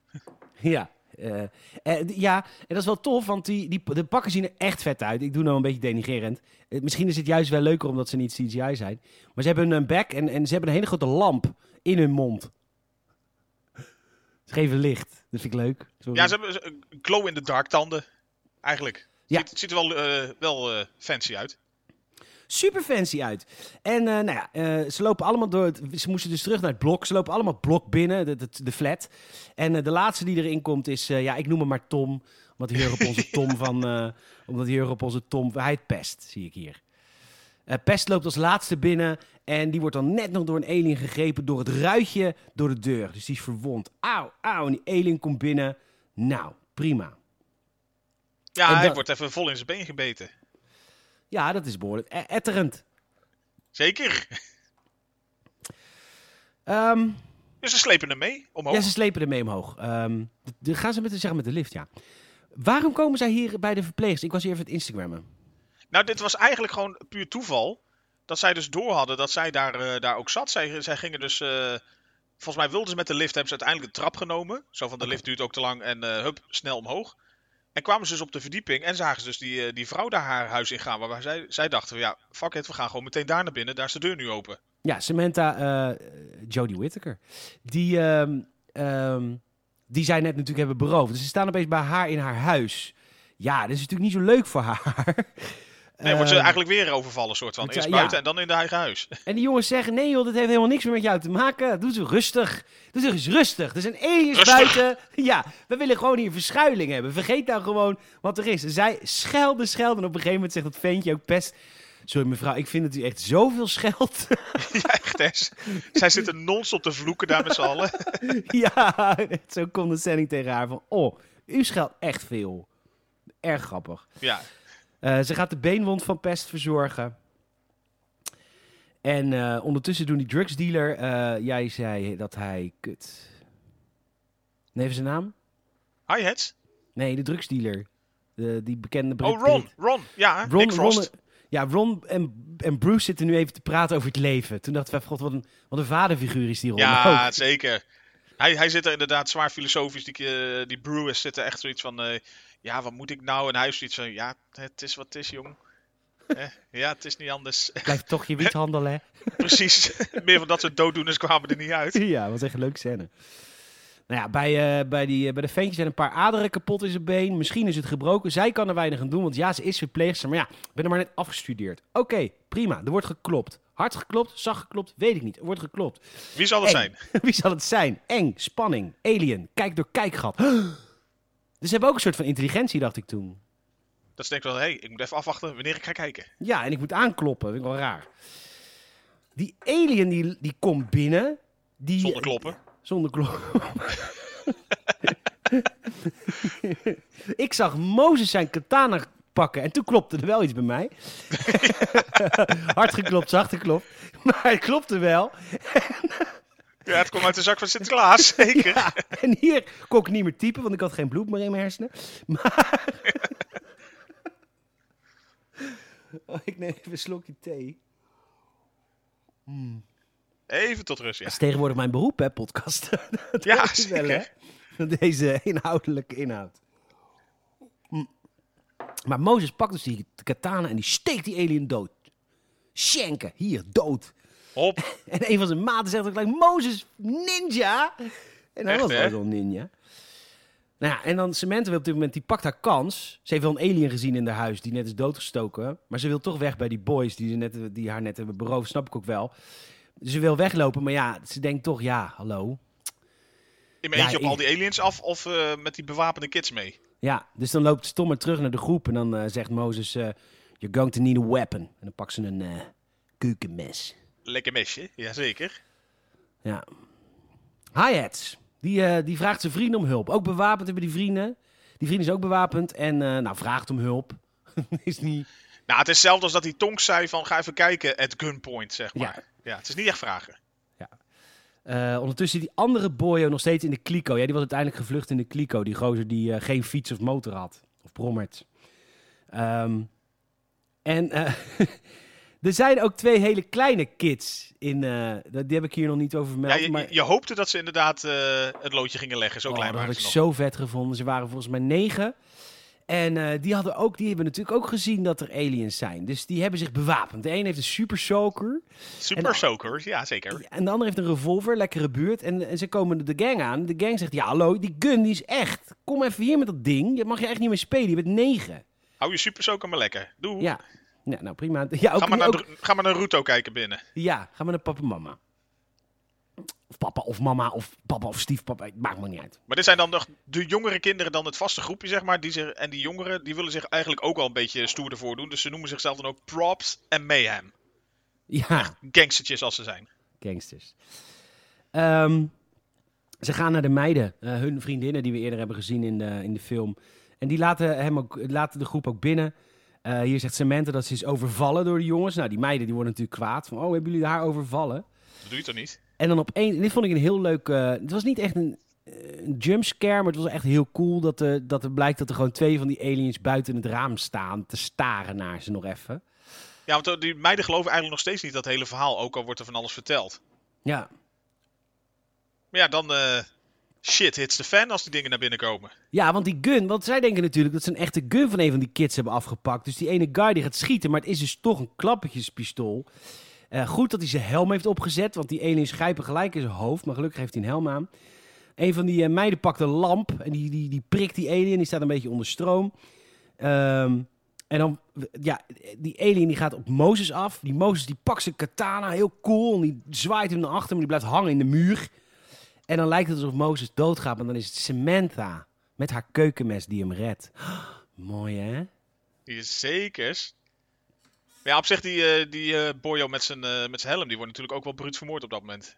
Ja. eh, eh, d- ja, en dat is wel tof, want die, die, de pakken zien er echt vet uit. Ik doe nou een beetje denigerend. Eh, misschien is het juist wel leuker omdat ze niet CGI zijn. Maar ze hebben een bek en, en ze hebben een hele grote lamp in hun mond. Ze geven licht. Dat vind ik leuk. Sorry.
Ja, ze eh, hebben ze- een glow-in-the-dark tanden. Eigenlijk.
Ja.
Ziet, ziet er wel, eh, wel eh, fancy uit.
super fancy uit. En eh, nou ja, eh, ze lopen allemaal door. Het, ze moesten dus terug naar het blok. Ze lopen allemaal blok binnen, de, de, de flat. En eh, de laatste die erin komt is, eh, ja, ik noem hem maar Tom. Omdat hij heel erg op onze Tom van. eh, omdat hij heel erg op onze Tom. Hij het pest, zie ik hier. Eh, Pest loopt als laatste binnen en die wordt dan net nog door een alien gegrepen door het ruitje door de deur. Dus die is verwond. Auw, auw. En die alien komt binnen. Nou, prima.
Ja,
En
hij
dat-
wordt even vol in zijn been gebeten.
Ja, dat is behoorlijk e- etterend.
Zeker.
Ehm,
Dus ze slepen hem mee omhoog.
Ja, ze slepen ermee omhoog. Ehm, d- d- gaan ze met de, zeggen met de lift, ja. Waarom komen zij hier bij de verpleegster? Ik was hier even het Instagrammen.
Nou, dit was eigenlijk gewoon puur toeval. Dat zij dus door hadden dat zij daar, eh, daar ook zat. Zij, zij gingen dus eh, Volgens mij wilden ze met de lift, hebben ze uiteindelijk de trap genomen. Zo van de lift duurt ook te lang en eh hup, snel omhoog. En kwamen ze dus op de verdieping en zagen ze dus die, eh, die vrouw daar haar huis in gaan. Waarbij zij, zij dachten van ja, fuck it, we gaan gewoon meteen daar naar binnen. Daar is de deur nu open.
Ja, Samantha eh, Jodie Whittaker. Die, ehm, ehm, die zij net natuurlijk hebben beroofd. Dus ze staan opeens bij haar in haar huis. Ja, dat is natuurlijk niet zo leuk voor haar.
Nee, wordt ze
Ehm,
eigenlijk weer overvallen soort van.
het,
Eerst
eh,
buiten
ja.
en dan in de eigen huis.
En die jongens zeggen, nee joh, dit heeft helemaal niks meer met jou te maken. Doe ze rustig. Doe ze eens rustig. Er zijn aliens
Rustig.
buiten. Ja, we willen gewoon hier verschuiling hebben. Vergeet nou gewoon wat er is. En zij schelden, schelden. En op een gegeven moment zegt dat ventje ook best... Sorry mevrouw, ik vind dat u echt zoveel scheldt.
ja, echt Tess. Zij zitten non-stop te vloeken daar met z'n allen.
ja, echt zo condescending tegen haar. Van, oh, u scheldt echt veel. Erg grappig.
Ja,
Eh, ze gaat de beenwond van Pest verzorgen. En eh, ondertussen doen die drugsdealer... eh, jij zei dat hij... Kut. Nee, even zijn naam?
hi heads.
Nee, de drugsdealer. De, die bekende Brit.
Oh, Ron, Ron. Ja,
Ron,
Nick Frost.
Ron- ja, Ron en, en Bruce zitten nu even te praten over het leven. Toen dachten we, god, wat een, wat een vaderfiguur is die Ron ook.
Ja, zeker. Hij, hij zit er inderdaad zwaar filosofisch. Die, eh, die Brewers zitten echt zoiets van... eh, ja, wat moet ik nou? En hij is zoiets van... Ja, het is wat het is, jong. Eh, ja, het is niet anders.
Blijf toch je wiet handelen, hè?
Precies. Meer van dat soort dooddoeners kwamen er niet uit.
Ja, wat echt een leuke scène. Nou ja, bij, eh, bij, die, eh, bij de ventjes zijn een paar aderen kapot in zijn been. Misschien is het gebroken. Zij kan er weinig aan doen, want ja, ze is verpleegster. Maar ja, ik ben er maar net afgestudeerd. Oké, prima. Er wordt geklopt. Hard geklopt, zacht geklopt, weet ik niet. Er wordt geklopt.
Wie zal dat
Eng.
zijn?
Wie zal het zijn? Eng, spanning, alien, kijk door kijkgat. Dus ze hebben ook een soort van intelligentie, dacht ik toen.
Dat ze denken van... Hé, hey, ik moet even afwachten wanneer ik ga kijken.
Ja, en ik moet aankloppen. Vind ik wel raar. Die alien die, die komt binnen. Die,
Zonder kloppen.
Zonder klok. ik zag Mozes zijn katana pakken en toen klopte er wel iets bij mij. Hard geklopt, zacht geklopt. Maar het klopte wel.
Ja, het komt uit de zak van Sinterklaas, zeker.
Ja, en hier kon ik niet meer typen, want ik had geen bloed meer in mijn hersenen. Maar... Oh, ik neem even een slokje thee.
Even tot rust, ja.
Dat is tegenwoordig mijn beroep, hè, podcast. Dat
Ja,
hoort u hè? Deze inhoudelijke inhoud. Hm. Maar Mozes pakt dus die katana en die steekt die alien dood. Schenken, hier, dood.
Hop.
En een van zijn maten zegt ook gelijk, Mozes, ninja! En hij
Echt,
was
hè?
wel zo'n ninja. Nou ja, en dan Samantha wil op dit moment, die pakt haar kans. Ze heeft wel een alien gezien in haar huis, die net is doodgestoken. Maar ze wil toch weg bij die boys die, ze net, die haar net hebben beroofd, snap ik ook wel. Ze wil weglopen, maar ja, ze denkt toch, ja, hallo.
In mijn
Ja,
eentje op
ik-
al die aliens af of eh, met die bewapende kids mee.
Ja, dus dan loopt Stommer terug naar de groep en dan eh, zegt Mozes, eh, you're going to need a weapon. En dan pakt ze een eh keukenmes.
Lekker mesje, jazeker.
Ja. Hi-hats. Die, eh, die vraagt zijn vrienden om hulp. Ook bewapend hebben die vrienden. Die vriend is ook bewapend en eh, nou, vraagt om hulp. is niet...
Nou, het is hetzelfde als dat die Tonks zei van ga even kijken at gunpoint, zeg maar. Ja, het is niet echt vragen.
Eh, ondertussen die andere boyo nog steeds in de kliko. Ja, die was uiteindelijk gevlucht in de kliko. Die gozer die eh, geen fiets of motor had. Of brommert. Ehm, en eh, er zijn ook twee hele kleine kids. In, eh, dat- die heb ik hier nog niet over
Ja,
vermeld.
je,
maar...
je hoopte dat ze inderdaad eh, het loodje gingen leggen, zo
Oh,
klein
dat had
waren
ik
ze nog.
zo vet gevonden. Ze waren volgens mij negen. En eh, die, hadden ook, die hebben natuurlijk ook gezien dat er aliens zijn. Dus die hebben zich bewapend. De een heeft een super soaker.
Super
en-
soaker, ja zeker.
En de ander heeft een revolver. Lekkere buurt. En, en ze komen de gang aan. De gang zegt, ja hallo, die gun die is echt. Kom even hier met dat ding. Je mag je echt niet meer spelen. Je bent negen.
Hou je super soaker maar lekker. Doe.
Ja. Ja, nou prima. Ja, ook,
ga, maar naar,
ook-
Dr- ga maar naar Ruto kijken binnen.
Ja, gaan we naar papa en mama. Of papa of mama of papa of stiefpapa. Het Maakt me niet uit.
Maar dit zijn dan nog de jongere kinderen dan het vaste groepje, zeg maar. Die zich, en die jongeren, die willen zich eigenlijk ook wel een beetje stoerder voordoen. Dus ze noemen zichzelf dan ook Props en Mayhem.
Ja.
Gangstertjes als ze zijn.
gangsters. Ehm, ze gaan naar de meiden, eh, hun vriendinnen die we eerder hebben gezien in de, in de film. En die laten, hem ook, laten de groep ook binnen. Eh, hier zegt Samantha dat ze is overvallen door de jongens. Nou, die meiden die worden natuurlijk kwaad. Van, oh, hebben jullie haar overvallen?
Dat doe je toch niet?
En dan opeens, dit vond ik een heel leuk. eh, het was niet echt een, eh, een jumpscare, maar het was echt heel cool dat, eh dat er blijkt dat er gewoon twee van die aliens buiten het raam staan. Te staren naar ze nog even.
Ja, want die meiden geloven eigenlijk nog steeds niet dat hele verhaal, ook al wordt er van alles verteld.
Ja.
Maar ja, dan eh, shit hits de fan als die dingen naar binnen komen.
Ja, want die gun, want zij denken natuurlijk dat ze een echte gun van een van die kids hebben afgepakt. Dus die ene guy die gaat schieten, maar het is dus toch een klappertjespistool. Eh, goed dat hij zijn helm heeft opgezet, want die ene is grijpen gelijk in zijn hoofd, maar gelukkig heeft hij een helm aan. Een van die eh, meiden pakt een lamp en die, die, die prikt die alien, die staat een beetje onder stroom. Ehm, en dan, ja, die alien die gaat op Mozes af. Die Mozes die pakt zijn katana, heel cool, en die zwaait hem naar achter, maar die blijft hangen in de muur. En dan lijkt het alsof Mozes doodgaat, maar dan is het Samantha. Met haar keukenmes die hem redt. mooi hè?
Die is zekers. Maar ja, op zich, die, eh, die eh, Boyo met zijn, eh, met zijn helm, die wordt natuurlijk ook wel bruut vermoord op dat moment.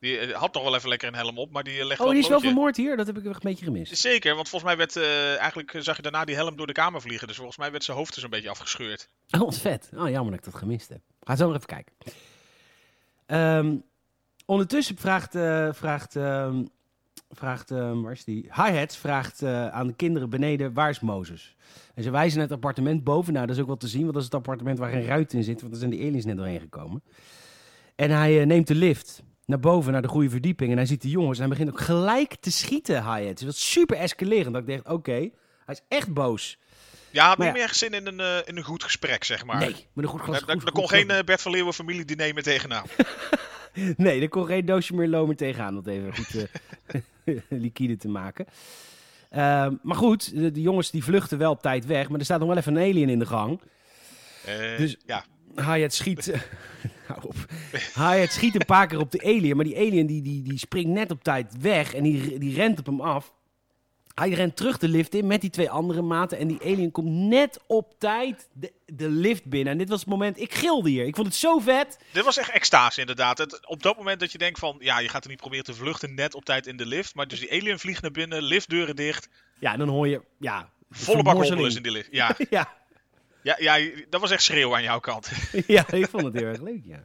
Die eh, had nog wel even lekker een helm op, maar die eh, legt
Oh, die
een
is wel
blootje.
vermoord hier. Dat heb ik een beetje gemist.
Zeker, want volgens mij werd, eh, eigenlijk zag je daarna die helm door de kamer vliegen. Dus volgens mij werd zijn hoofd dus een beetje afgescheurd.
Oh, wat vet. Oh, jammer dat ik dat gemist heb. Ga zo nog even kijken. Ehm, ondertussen vraagt, eh, vraagt, ehm, vraagt ehm, waar is die? Hi-Hat vraagt eh, aan de kinderen beneden, waar is Mozes? En ze wijzen naar het appartement boven. Nou, dat is ook wel te zien, want dat is het appartement waar geen ruit in zit. Want daar zijn die aliens net doorheen gekomen. En hij eh, neemt de lift naar boven, naar de goede verdieping. En hij ziet de jongens en hij begint ook gelijk te schieten, Hi-Hat. Dus dat is super escalerend. Dat ik dacht, oké, hij is echt boos.
Ja, had
Maar
niet
ja.
meer echt zin in een, eh, in een goed gesprek, zeg maar.
nee, maar een goed glas.
Daar, daar-
goed-
daar
goed
kon geen
glas-
eh, Bert van Leeuwen familiediner meer tegenaan.
Nee, er kon geen doosje meer lomer tegenaan, om het even goed eh, liquide te maken. Ehm, maar goed, de, de jongens die vluchten wel op tijd weg, maar er staat nog wel even een alien in de gang.
Eh,
Dus-
ja.
Hayat schiet... eh, Hou op. Hayat schiet een paar keer op de alien, maar die alien die, die, die springt net op tijd weg en die, die rent op hem af. Hij rent terug de lift in met die twee andere maten en die alien komt net op tijd de, de lift binnen. En dit was het moment, ik gilde hier, ik vond het zo vet.
Dit was echt extase, inderdaad. Het, op dat moment dat je denkt van, ja, je gaat er niet proberen te vluchten net op tijd in de lift. Maar dus die alien vliegt naar binnen, liftdeuren dicht,
Ja, en dan hoor je... Ja,
volle bak
vermorzeling.
hobbelers in die lift. Ja,
Ja,
ja, ja, dat was echt schreeuw aan jouw kant.
ja, ik vond het heel erg leuk, ja.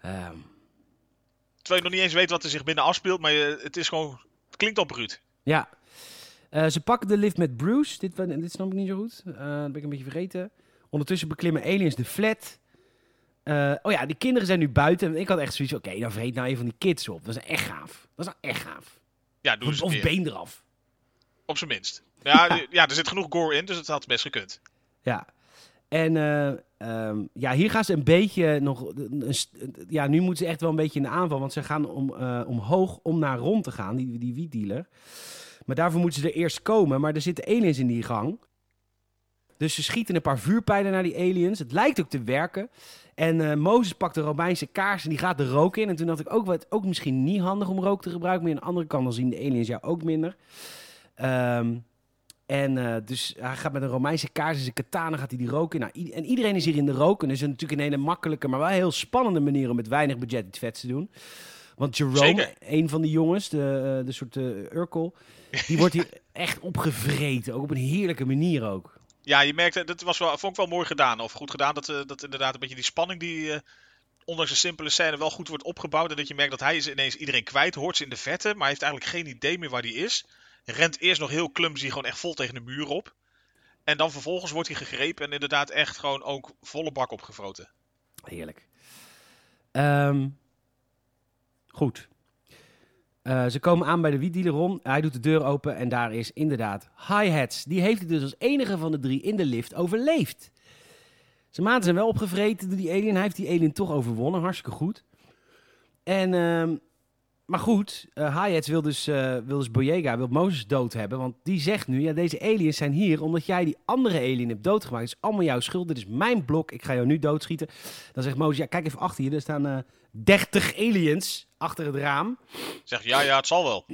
Ehm,
Terwijl je nog niet eens weet wat er zich binnen afspeelt, maar je- het is gewoon, het klinkt al bruut.
ja. Eh, ze pakken de lift met Bruce. Dit, wa- dit snap ik niet zo goed. Eh, dat ben ik een beetje vergeten. Ondertussen beklimmen aliens de flat. Eh, oh ja, die kinderen zijn nu buiten. Ik had echt zoiets van, oké, dan vreet nou een van die kids op. Dat is echt gaaf. Dat is nou echt gaaf.
Ja, doe
Of,
eens een
of
keer.
been eraf.
Op zijn minst. Ja, d- ja, er zit genoeg gore in, dus het had best gekund.
Ja. En eh, ehm, ja, hier gaan ze een beetje nog. een st- ja, nu moeten ze echt wel een beetje in de aanval. Want ze gaan om, eh, omhoog om naar rond te gaan, die, die wietdealer. Maar daarvoor moeten ze er eerst komen. Maar er zitten aliens in die gang. Dus ze schieten een paar vuurpijlen naar die aliens. Het lijkt ook te werken. En eh Mozes pakt de Romeinse kaars en die gaat de rook in. En toen dacht ik ook, wat ook misschien niet handig om rook te gebruiken. Maar aan de andere kant dan zien de aliens jou ook minder. Ehm en eh, dus hij gaat met een Romeinse kaars en zijn katana gaat hij die rook in. Nou, i- en iedereen is hier in de rook. En dat is natuurlijk een hele makkelijke, maar wel heel spannende manier om met weinig budget iets vets te doen. Want Jerome,
Zeker.
een van die jongens, de, eh, de soort eh, Urkel, die wordt hier echt opgevreten. Ook op een heerlijke manier ook.
Ja, je merkte, dat was wel, vond ik wel mooi gedaan. Of goed gedaan, dat, eh, dat inderdaad een beetje die spanning die... eh, Ondanks een simpele scène wel goed wordt opgebouwd. En dat je merkt dat hij is ineens iedereen kwijt. Hoort ze in de vette, maar heeft eigenlijk geen idee meer waar hij is. Rent eerst nog heel clumsy, gewoon echt vol tegen de muur op. En dan vervolgens wordt hij gegrepen en inderdaad echt gewoon ook volle bak opgevroten.
Heerlijk. Ehm, goed. Eh, ze komen aan bij de wietdealer Ron. Hij doet de deur open en daar is inderdaad Hi-Hats. Die heeft het dus als enige van de drie in de lift overleefd. Zijn maten zijn wel opgevreten door die alien. Hij heeft die alien toch overwonnen. Hartstikke goed. En, ehm, maar goed, eh Hi-Hats wil dus, eh wil dus Boyega, wil Mozes dood hebben. Want die zegt nu, ja, deze aliens zijn hier omdat jij die andere alien hebt doodgemaakt. Het is allemaal jouw schuld. Dit is mijn blok. Ik ga jou nu doodschieten. Dan zegt Mozes, ja, kijk even achter je. Er staan eh 30 aliens achter het raam.
Zegt ja, ja, het zal wel.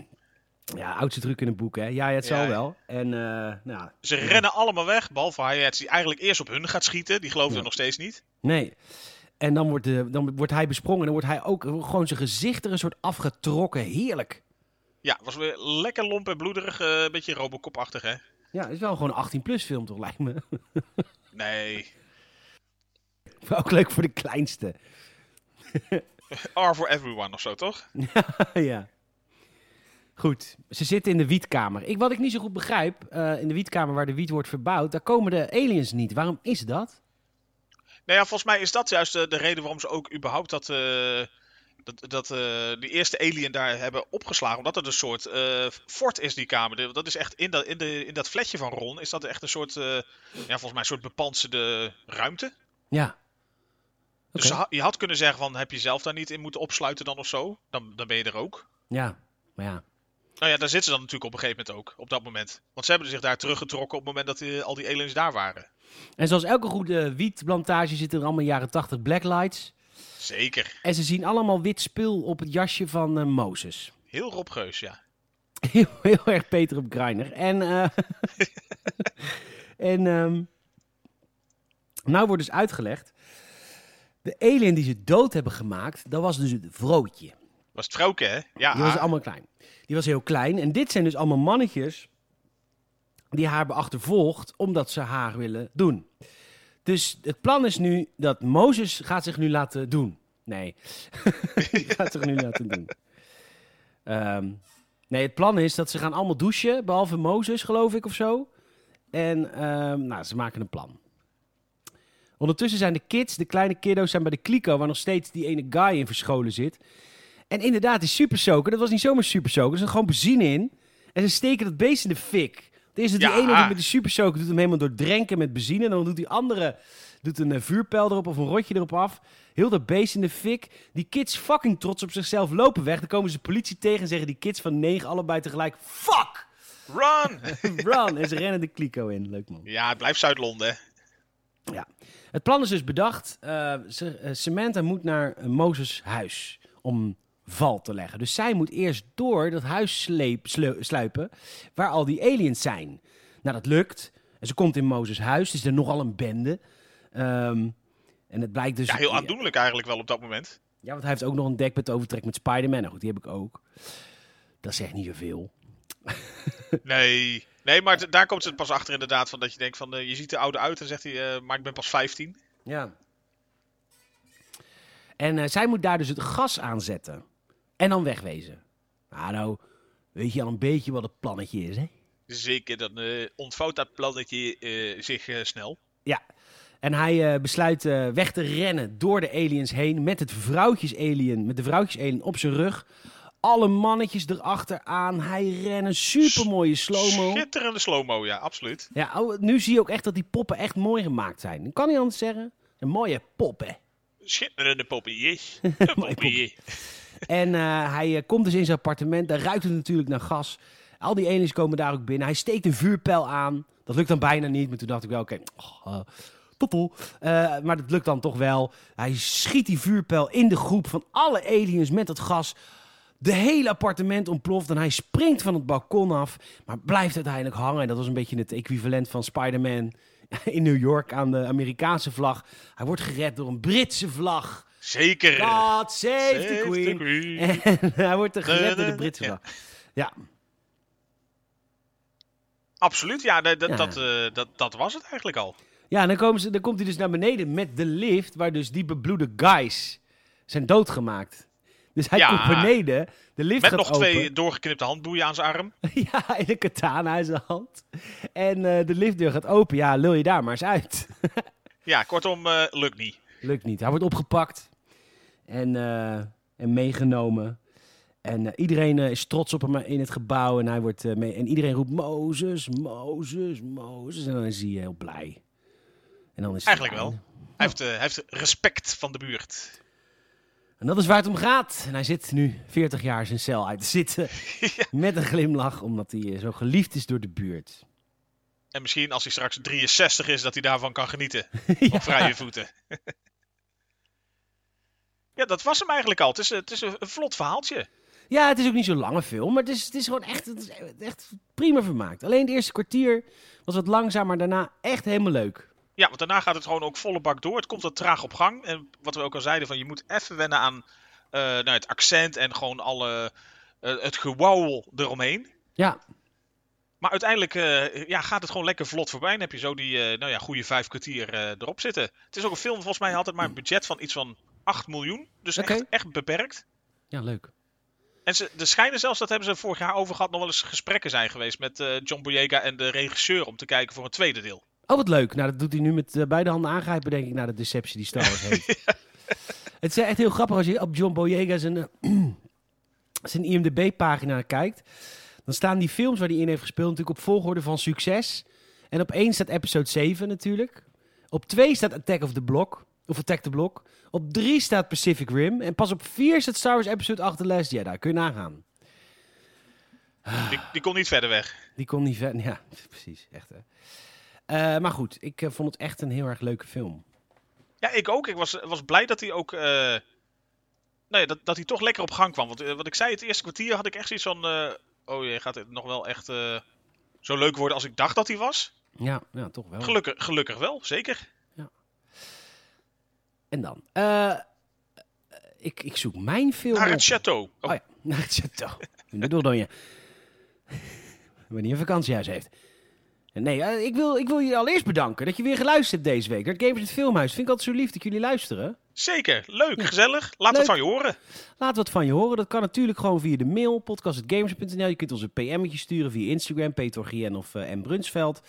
Ja, oudste truc in het boek, hè. Ja, het zal
Ja, ja.
wel. En, eh, nou,
Ze rennen allemaal weg, behalve Hayats die eigenlijk eerst op hun gaat schieten. Die gelooft
Ja.
er nog steeds niet.
nee. En dan wordt, de, dan wordt hij besprongen. Dan wordt hij ook gewoon zijn gezicht er een soort afgetrokken. Heerlijk.
Ja, was weer lekker lomp en bloederig. eh, Een beetje robocopachtig, hè?
Ja, het is wel gewoon een 18-plus film, toch, lijkt me.
Nee.
Maar ook leuk voor de kleinste.
R for everyone of zo, toch?
ja. Goed, ze zitten in de wietkamer. Ik, wat ik niet zo goed begrijp, eh, in de wietkamer waar de wiet wordt verbouwd, daar komen de aliens niet. Waarom is dat?
Nou ja, volgens mij is dat juist eh, de, reden waarom ze ook überhaupt dat eh, dat, dat eh, die eerste alien daar hebben opgeslagen. Omdat het een soort eh, fort is, die kamer. De- Dat is echt in dat, in de, in dat flatje van Ron. Is dat echt een soort, eh, ja, volgens mij een soort bepantserde ruimte.
Ja.
Dus ze
Oké.
ha- je had kunnen zeggen van, heb je zelf daar niet in moeten opsluiten dan of zo? Dan, dan ben je er ook.
Ja, maar ja.
Nou ja, daar zitten ze dan natuurlijk op een gegeven moment ook, op dat moment. Want ze hebben zich daar teruggetrokken op het moment dat eh, al die aliens daar waren.
En zoals elke goede wietplantage zitten er allemaal jaren 80 blacklights.
Zeker.
En ze zien allemaal wit spul op het jasje van eh, Mozes.
Heel Rob Geus, ja.
Heel, heel erg Peter op Greiner. En, eh, en ehm, nou wordt dus uitgelegd. De alien die ze dood hebben gemaakt, dat was dus het vrootje.
Was het vrouwke, hè? Ja.
Die was allemaal klein. Die was heel klein. En dit zijn dus allemaal mannetjes die haar beachtervolgt omdat ze haar willen doen. Dus het plan is nu dat Mozes gaat zich nu laten doen. Nee, die gaat zich nu laten doen. Ehm, nee, het plan is dat ze gaan allemaal douchen, behalve Mozes, geloof ik, of zo. En ehm, nou, ze maken een plan. Ondertussen zijn de kids, de kleine kiddo's, zijn bij de kliko... waar nog steeds die ene guy in verscholen zit. En inderdaad, die supersoker, dat was niet zomaar supersoker. Er zat gewoon benzine in. En ze steken dat beest in de fik. Er is dat
Ja.
die ene die met de supersoker doet hem helemaal doordrenken met benzine. En dan doet die andere doet een eh, vuurpijl erop of een rotje erop af. Heel dat beest in de fik. Die kids fucking trots op zichzelf lopen weg. Dan komen ze de politie tegen en zeggen die kids van negen allebei tegelijk... Fuck!
Run!
Run! En ze rennen de kliko in. Leuk man.
ja, het blijft Zuid-Londen, hè?
Ja. Het plan is dus bedacht. Eh, ze- eh, Samantha moet naar eh, Mozes huis om val te leggen. Dus zij moet eerst door dat huis sleep, slu- sluipen waar al die aliens zijn. Nou, dat lukt. En ze komt in Mozes huis. Het is er nogal een bende. Ehm, en het blijkt dus...
Ja, heel aandoenlijk eigenlijk wel op dat moment.
Ja, want hij heeft ook nog een dekbed overtrek met Spider-Man. Nou goed, die heb ik ook. Dat zegt niet zoveel.
Nee. Nee, maar d- daar komt het pas achter inderdaad. Van dat je denkt van, eh, je ziet er oude uit en zegt hij, eh, maar ik ben pas 15.
Ja. En eh, zij moet daar dus het gas aanzetten. En dan wegwezen. Nou, nou, weet je al een beetje wat het plannetje is, hè?
Zeker, dan eh, ontvouwt dat plannetje eh, zich eh, snel.
Ja. En hij eh, besluit eh, weg te rennen door de aliens heen met het vrouwtjesalien, met de vrouwtjesalien op zijn rug. Alle mannetjes erachteraan. Hij rennen. Supermooie slow-mo.
Schitterende slow-mo, ja, absoluut.
Ja, oh, nu zie je ook echt dat die poppen echt mooi gemaakt zijn. Ik kan niet anders zeggen. Een mooie poppen.
Schitterende poppetjes. Een poppetje.
En eh, hij eh, komt dus in zijn appartement. Daar ruikt het natuurlijk naar gas. Al die aliens komen daar ook binnen. Hij steekt een vuurpijl aan. Dat lukt dan bijna niet. Maar toen dacht ik wel, oké, oh, eh, toepel. Eh, maar dat lukt dan toch wel. Hij schiet die vuurpijl in de groep van alle aliens met dat gas. De hele appartement ontploft en hij springt van het balkon af. Maar blijft uiteindelijk hangen. En dat was een beetje het equivalent van Spider-Man in New York aan de Amerikaanse vlag. Hij wordt gered door een Britse vlag.
Zeker.
God save, the queen. En hij wordt er gered door de Britse
Ja.
vlag. Ja,
Absoluut, ja, dat, dat,
Ja.
Dat, eh, dat, dat was het eigenlijk al.
ja en dan, komen ze, dan komt hij dus naar beneden met de lift... waar dus die bebloede guys zijn doodgemaakt. Dus hij
Ja.
komt beneden, de lift
Met
gaat
nog
open.
twee doorgeknipte handboeien aan zijn arm.
Ja, in een katana in zijn hand. En eh, de liftdeur gaat open. Ja, lul je daar maar eens uit.
Ja, kortom, eh, lukt niet.
Lukt niet. Hij wordt opgepakt en, eh, en meegenomen. En eh, iedereen eh, is trots op hem in het gebouw. En, hij wordt, eh, mee, en iedereen roept Mozes, Mozes, Mozes. En dan is hij heel blij. En dan is hij
Eigenlijk wel.
blij.
Hij heeft, eh, hij heeft respect van de buurt.
En dat is waar het om gaat. En hij zit nu 40 jaar zijn cel uit te zitten. Met een glimlach, omdat hij eh, zo geliefd is door de buurt.
En misschien als hij straks 63 is, dat hij daarvan kan genieten.
Ja.
Op vrije voeten. ja, dat was hem eigenlijk al. Het is, eh, het is een een vlot verhaaltje.
Ja, het is ook niet zo'n lange film, maar het is, het is gewoon echt, het is echt prima vermaakt. Alleen het eerste kwartier was wat langzaam, maar daarna echt helemaal leuk.
Ja, want daarna gaat het gewoon ook volle bak door. Het komt wat traag op gang. En wat we ook al zeiden, van je moet even wennen aan eh, nou, het accent en gewoon alle, eh, het gewauwel eromheen.
Ja,
Maar uiteindelijk eh, ja, gaat het gewoon lekker vlot voorbij. En heb je zo die eh, nou ja, goede vijf kwartier eh, erop zitten. Het is ook een film, volgens mij had het maar een budget van iets van 8 miljoen. Dus
Oké.
echt, echt beperkt.
Ja, leuk.
En ze, er schijnen zelfs, dat hebben ze vorig jaar over gehad, nog wel eens gesprekken zijn geweest met eh, John Boyega en de regisseur om te kijken voor een tweede deel.
Oh, wat leuk. Nou, dat doet hij nu met eh, beide handen aangrijpen, denk ik, naar de deceptie die Star Wars heeft. Het is echt heel grappig als je op John Boyega zijn, eh, zijn IMDb-pagina kijkt. Dan staan die films waar hij in heeft gespeeld natuurlijk op volgorde van succes. En op één staat episode 7 natuurlijk. Op twee staat Attack of the Block. Of Attack the Block. Op drie staat Pacific Rim. En pas op vier staat Star Wars episode 8 The Last Jedi. Kun je nagaan.
Die, die kon niet verder weg.
Die kon niet verder. Ja, precies. Echt hè. Eh, maar goed, ik eh, vond het echt een heel erg leuke film.
Ja, ik ook. Ik was, was blij dat hij ook. eh, nou ja, dat, dat hij toch lekker op gang kwam. Want eh, wat ik zei, het eerste kwartier had ik echt zoiets van. eh, oh jee, gaat dit nog wel echt eh, zo leuk worden als ik dacht dat hij was?
Ja, ja toch wel.
Gelukkig, gelukkig wel, zeker.
En dan? eh, ik, ik zoek mijn film
Naar
op.
het château. Oh,
Oh ja, naar het château. Ik bedoel dan je. Wanneer je een vakantiehuis heeft. Nee, eh, ik wil, ik wil jullie allereerst bedanken dat je weer geluisterd hebt deze week. Naar het Gamers in het Filmhuis. Vind ik altijd zo lief dat jullie luisteren.
Zeker, leuk, gezellig. Laat
Leuk.
het van je horen.
Laat wat van je horen. Dat kan natuurlijk gewoon via de mail, podcast.gamers.nl. Je kunt ons een PM'tje sturen via Instagram, Petorgien of eh M. Brunsveld.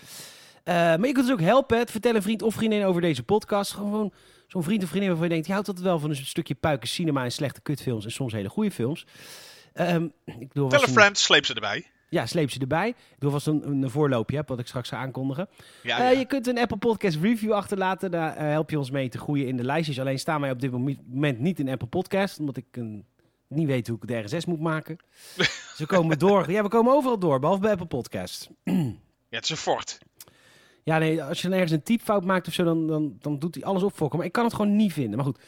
Eh, maar je kunt ons ook helpen. hè. Vertel een vriend of vriendin over deze podcast. Gewoon zo'n vriend of vriendin waarvan je denkt... je houdt altijd wel van een stukje puiken cinema en slechte kutfilms... en soms hele goede films. Ehm, ik bedoel, was
Tell a
een-
friend, sleep ze erbij.
Ja, sleep ze erbij. Ik bedoel, was een, een voorloopje, hè, wat ik straks ga aankondigen.
Ja,
Eh,
ja.
Je kunt een Apple Podcast review achterlaten. Daar eh, help je ons mee te groeien in de lijstjes. Alleen staan wij op dit momi- moment niet in Apple Podcast. Omdat ik een, niet weet hoe ik de RSS moet maken. Dus we komen door. Ja, we komen overal door. Behalve bij Apple Podcast.
Ja, het is een fort.
Ja, nee, als je dan ergens een typfout maakt of zo, dan, dan, dan doet hij alles opfokken. Maar ik kan het gewoon niet vinden. Maar goed.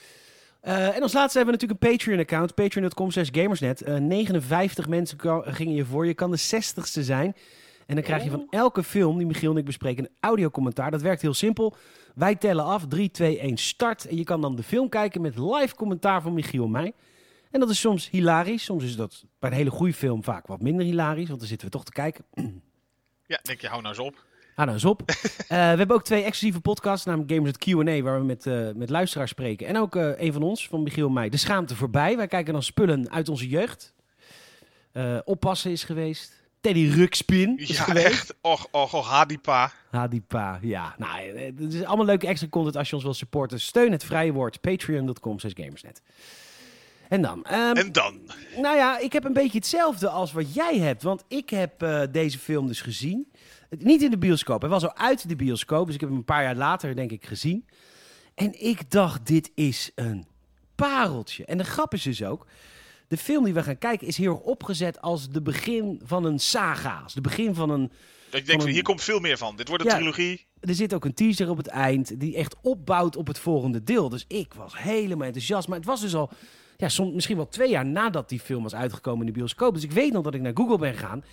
Eh, en als laatste hebben we natuurlijk een Patreon-account. Patreon.com slash gamersnet. Eh, 59 mensen ka- gingen je voor. Je kan de 60ste zijn. En dan krijg je van elke film die Michiel en ik bespreken een audiocommentaar. Dat werkt heel simpel. Wij tellen af. 3, 2, 1, start. En je kan dan de film kijken met live commentaar van Michiel en mij. En dat is soms hilarisch. Soms is dat bij een hele goede film vaak wat minder hilarisch. Want dan zitten we toch te kijken.
Ja, denk je, hou nou eens op.
Hou nou eens op. Eh, we hebben ook twee exclusieve podcasts, namelijk Gamers at Q&A, waar we met, eh, met luisteraars spreken. En ook eh, een van ons, van Michiel en mij, De Schaamte Voorbij. Wij kijken dan spullen uit onze jeugd. Eh, oppassen is geweest. Teddy Ruxpin is
Ja,
geweest.
echt. Och, och, och, hadipa.
Ha, die pa. Ja, nou, eh, het is allemaal leuke extra content als je ons wil supporten. Steun het vrije woord. Patreon.com slash Gamersnet. En dan, ehm,
En dan?
nou ja, ik heb een beetje hetzelfde als wat jij hebt. Want ik heb eh, deze film dus gezien. Het- Niet in de bioscoop. Hij was al uit de bioscoop. Dus ik heb hem een paar jaar later, denk ik, gezien. En ik dacht, dit is een pareltje. En de grap is dus ook... De film die we gaan kijken is heel erg opgezet als de begin van een saga. Als de begin van een...
Ik denk,
een-
hier komt veel meer van. Dit wordt een
Ja.
trilogie.
Er zit ook een teaser op het eind die echt opbouwt op het volgende deel. Dus ik was helemaal enthousiast. Maar het was dus al ja, soms, misschien wel twee jaar nadat die film was uitgekomen in de bioscoop. Dus ik weet nog dat ik naar Google ben gegaan.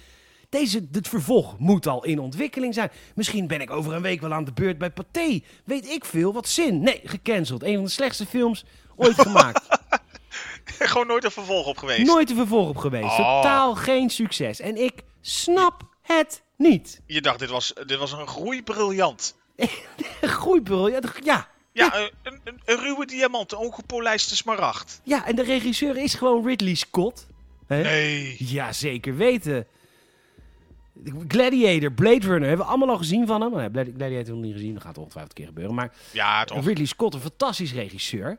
Deze, het vervolg moet al in ontwikkeling zijn. Misschien ben ik over een week wel aan de beurt bij Pathé. Weet ik veel, wat zin. Nee, gecanceld. Een van de slechtste films ooit gemaakt.
Gewoon nooit een vervolg op geweest.
Nooit een vervolg op geweest.
Oh.
Totaal geen succes. En ik snap het niet.
Je dacht, dit was, dit was een groeibriljant.
Groeibul, ja, d- ja,
Ja, een, een, een- een ruwe diamant, een ongepolijste smaragd.
Ja, en de regisseur is gewoon Ridley Scott. Hè?
Nee.
Ja, zeker weten. Gladiator, Blade Runner, hebben we allemaal al gezien van hem. Nou, Blade- Gladiator hebben we nog niet gezien, dat gaat ongetwijfeld een keer gebeuren. Maar
Ja, toch.
Ridley Scott, een fantastisch regisseur.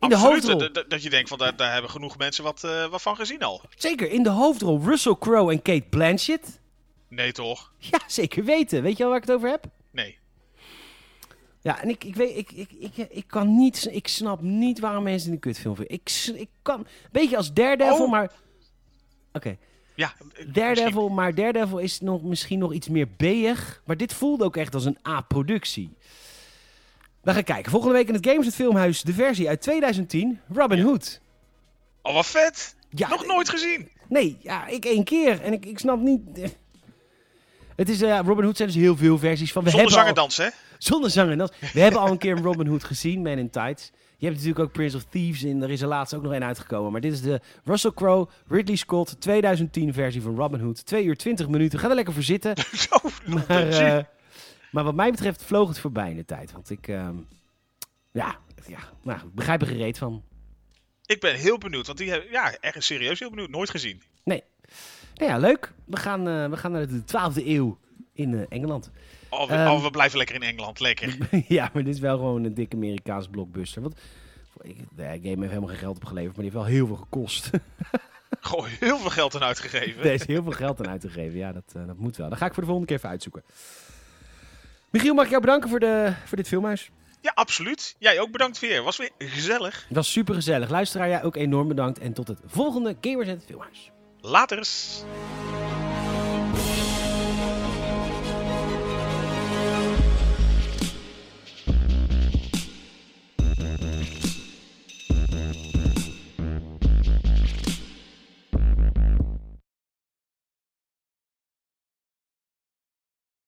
In de
Absoluut.
hoofdrol,
Dat- dat- Dat je denkt, van, daar, daar hebben genoeg mensen wat, eh, wat van gezien al.
zeker, in de hoofdrol Russell Crowe en Kate Blanchett.
Nee, toch?
Ja, zeker weten. Weet je al waar ik het over heb?
Nee.
Ja, en ik, ik weet, ik, ik, ik, ik kan niet, ik snap niet waarom mensen een kutfilm vinden. Ik, s- ik kan, beetje als Daredevil,
Oh.
maar... Oké.
Ja, eh,
Daredevil,
misschien.
maar Daredevil is nog, misschien nog iets meer B'ig. Maar dit voelde ook echt als een A-productie. We gaan kijken. Volgende week in het Games het Filmhuis de versie uit 2010, Robin Hood.
Oh, wat vet.
Ja,
Nog nooit gezien.
Nee, ja, ik één keer. En ik, ik snap niet... Het is, eh, Robin Hood zijn dus heel veel versies van. We
Zonder
hebben al,
zangerdans, hè?
Zonder zanger. dat- We hebben al een keer een Robin Hood gezien, Man in Tights. Je hebt natuurlijk ook Prince of Thieves in. Er is er laatst ook nog één uitgekomen. Maar dit is de Russell Crowe, Ridley Scott 2010 versie van Robin Hood. 2 uur 20 minuten. Ga er lekker voor zitten.
Zo,
Maar,
zie.
eh, maar wat mij betreft vloog het voorbij in de tijd. Want ik, ehm, ja, ja nou, ik begrijp er gereed van.
Ik ben heel benieuwd, want die hebben, ja, echt serieus heel benieuwd. Nooit gezien.
Nee. Nou ja, leuk. We gaan, eh, we gaan naar de 12e eeuw in eh, Engeland.
Oh we,
Ehm.
oh, we blijven lekker in Engeland. Lekker.
ja, maar dit is wel gewoon een dikke Amerikaans blockbuster. Want ik, de game heeft helemaal geen geld opgeleverd, maar die heeft wel heel veel gekost.
Gewoon heel veel geld aan uitgegeven.
Er is heel veel geld aan uit te geven. Ja, dat, eh, dat moet wel. Dat ga ik voor de volgende keer even uitzoeken. Michiel, mag ik jou bedanken voor, de, voor dit filmhuis?
Ja, absoluut. Jij ook bedankt weer. Was weer gezellig.
Het was super gezellig. Luisteraar, jij ook enorm bedankt. En tot het volgende Gamers in het Filmhuis.
Laters.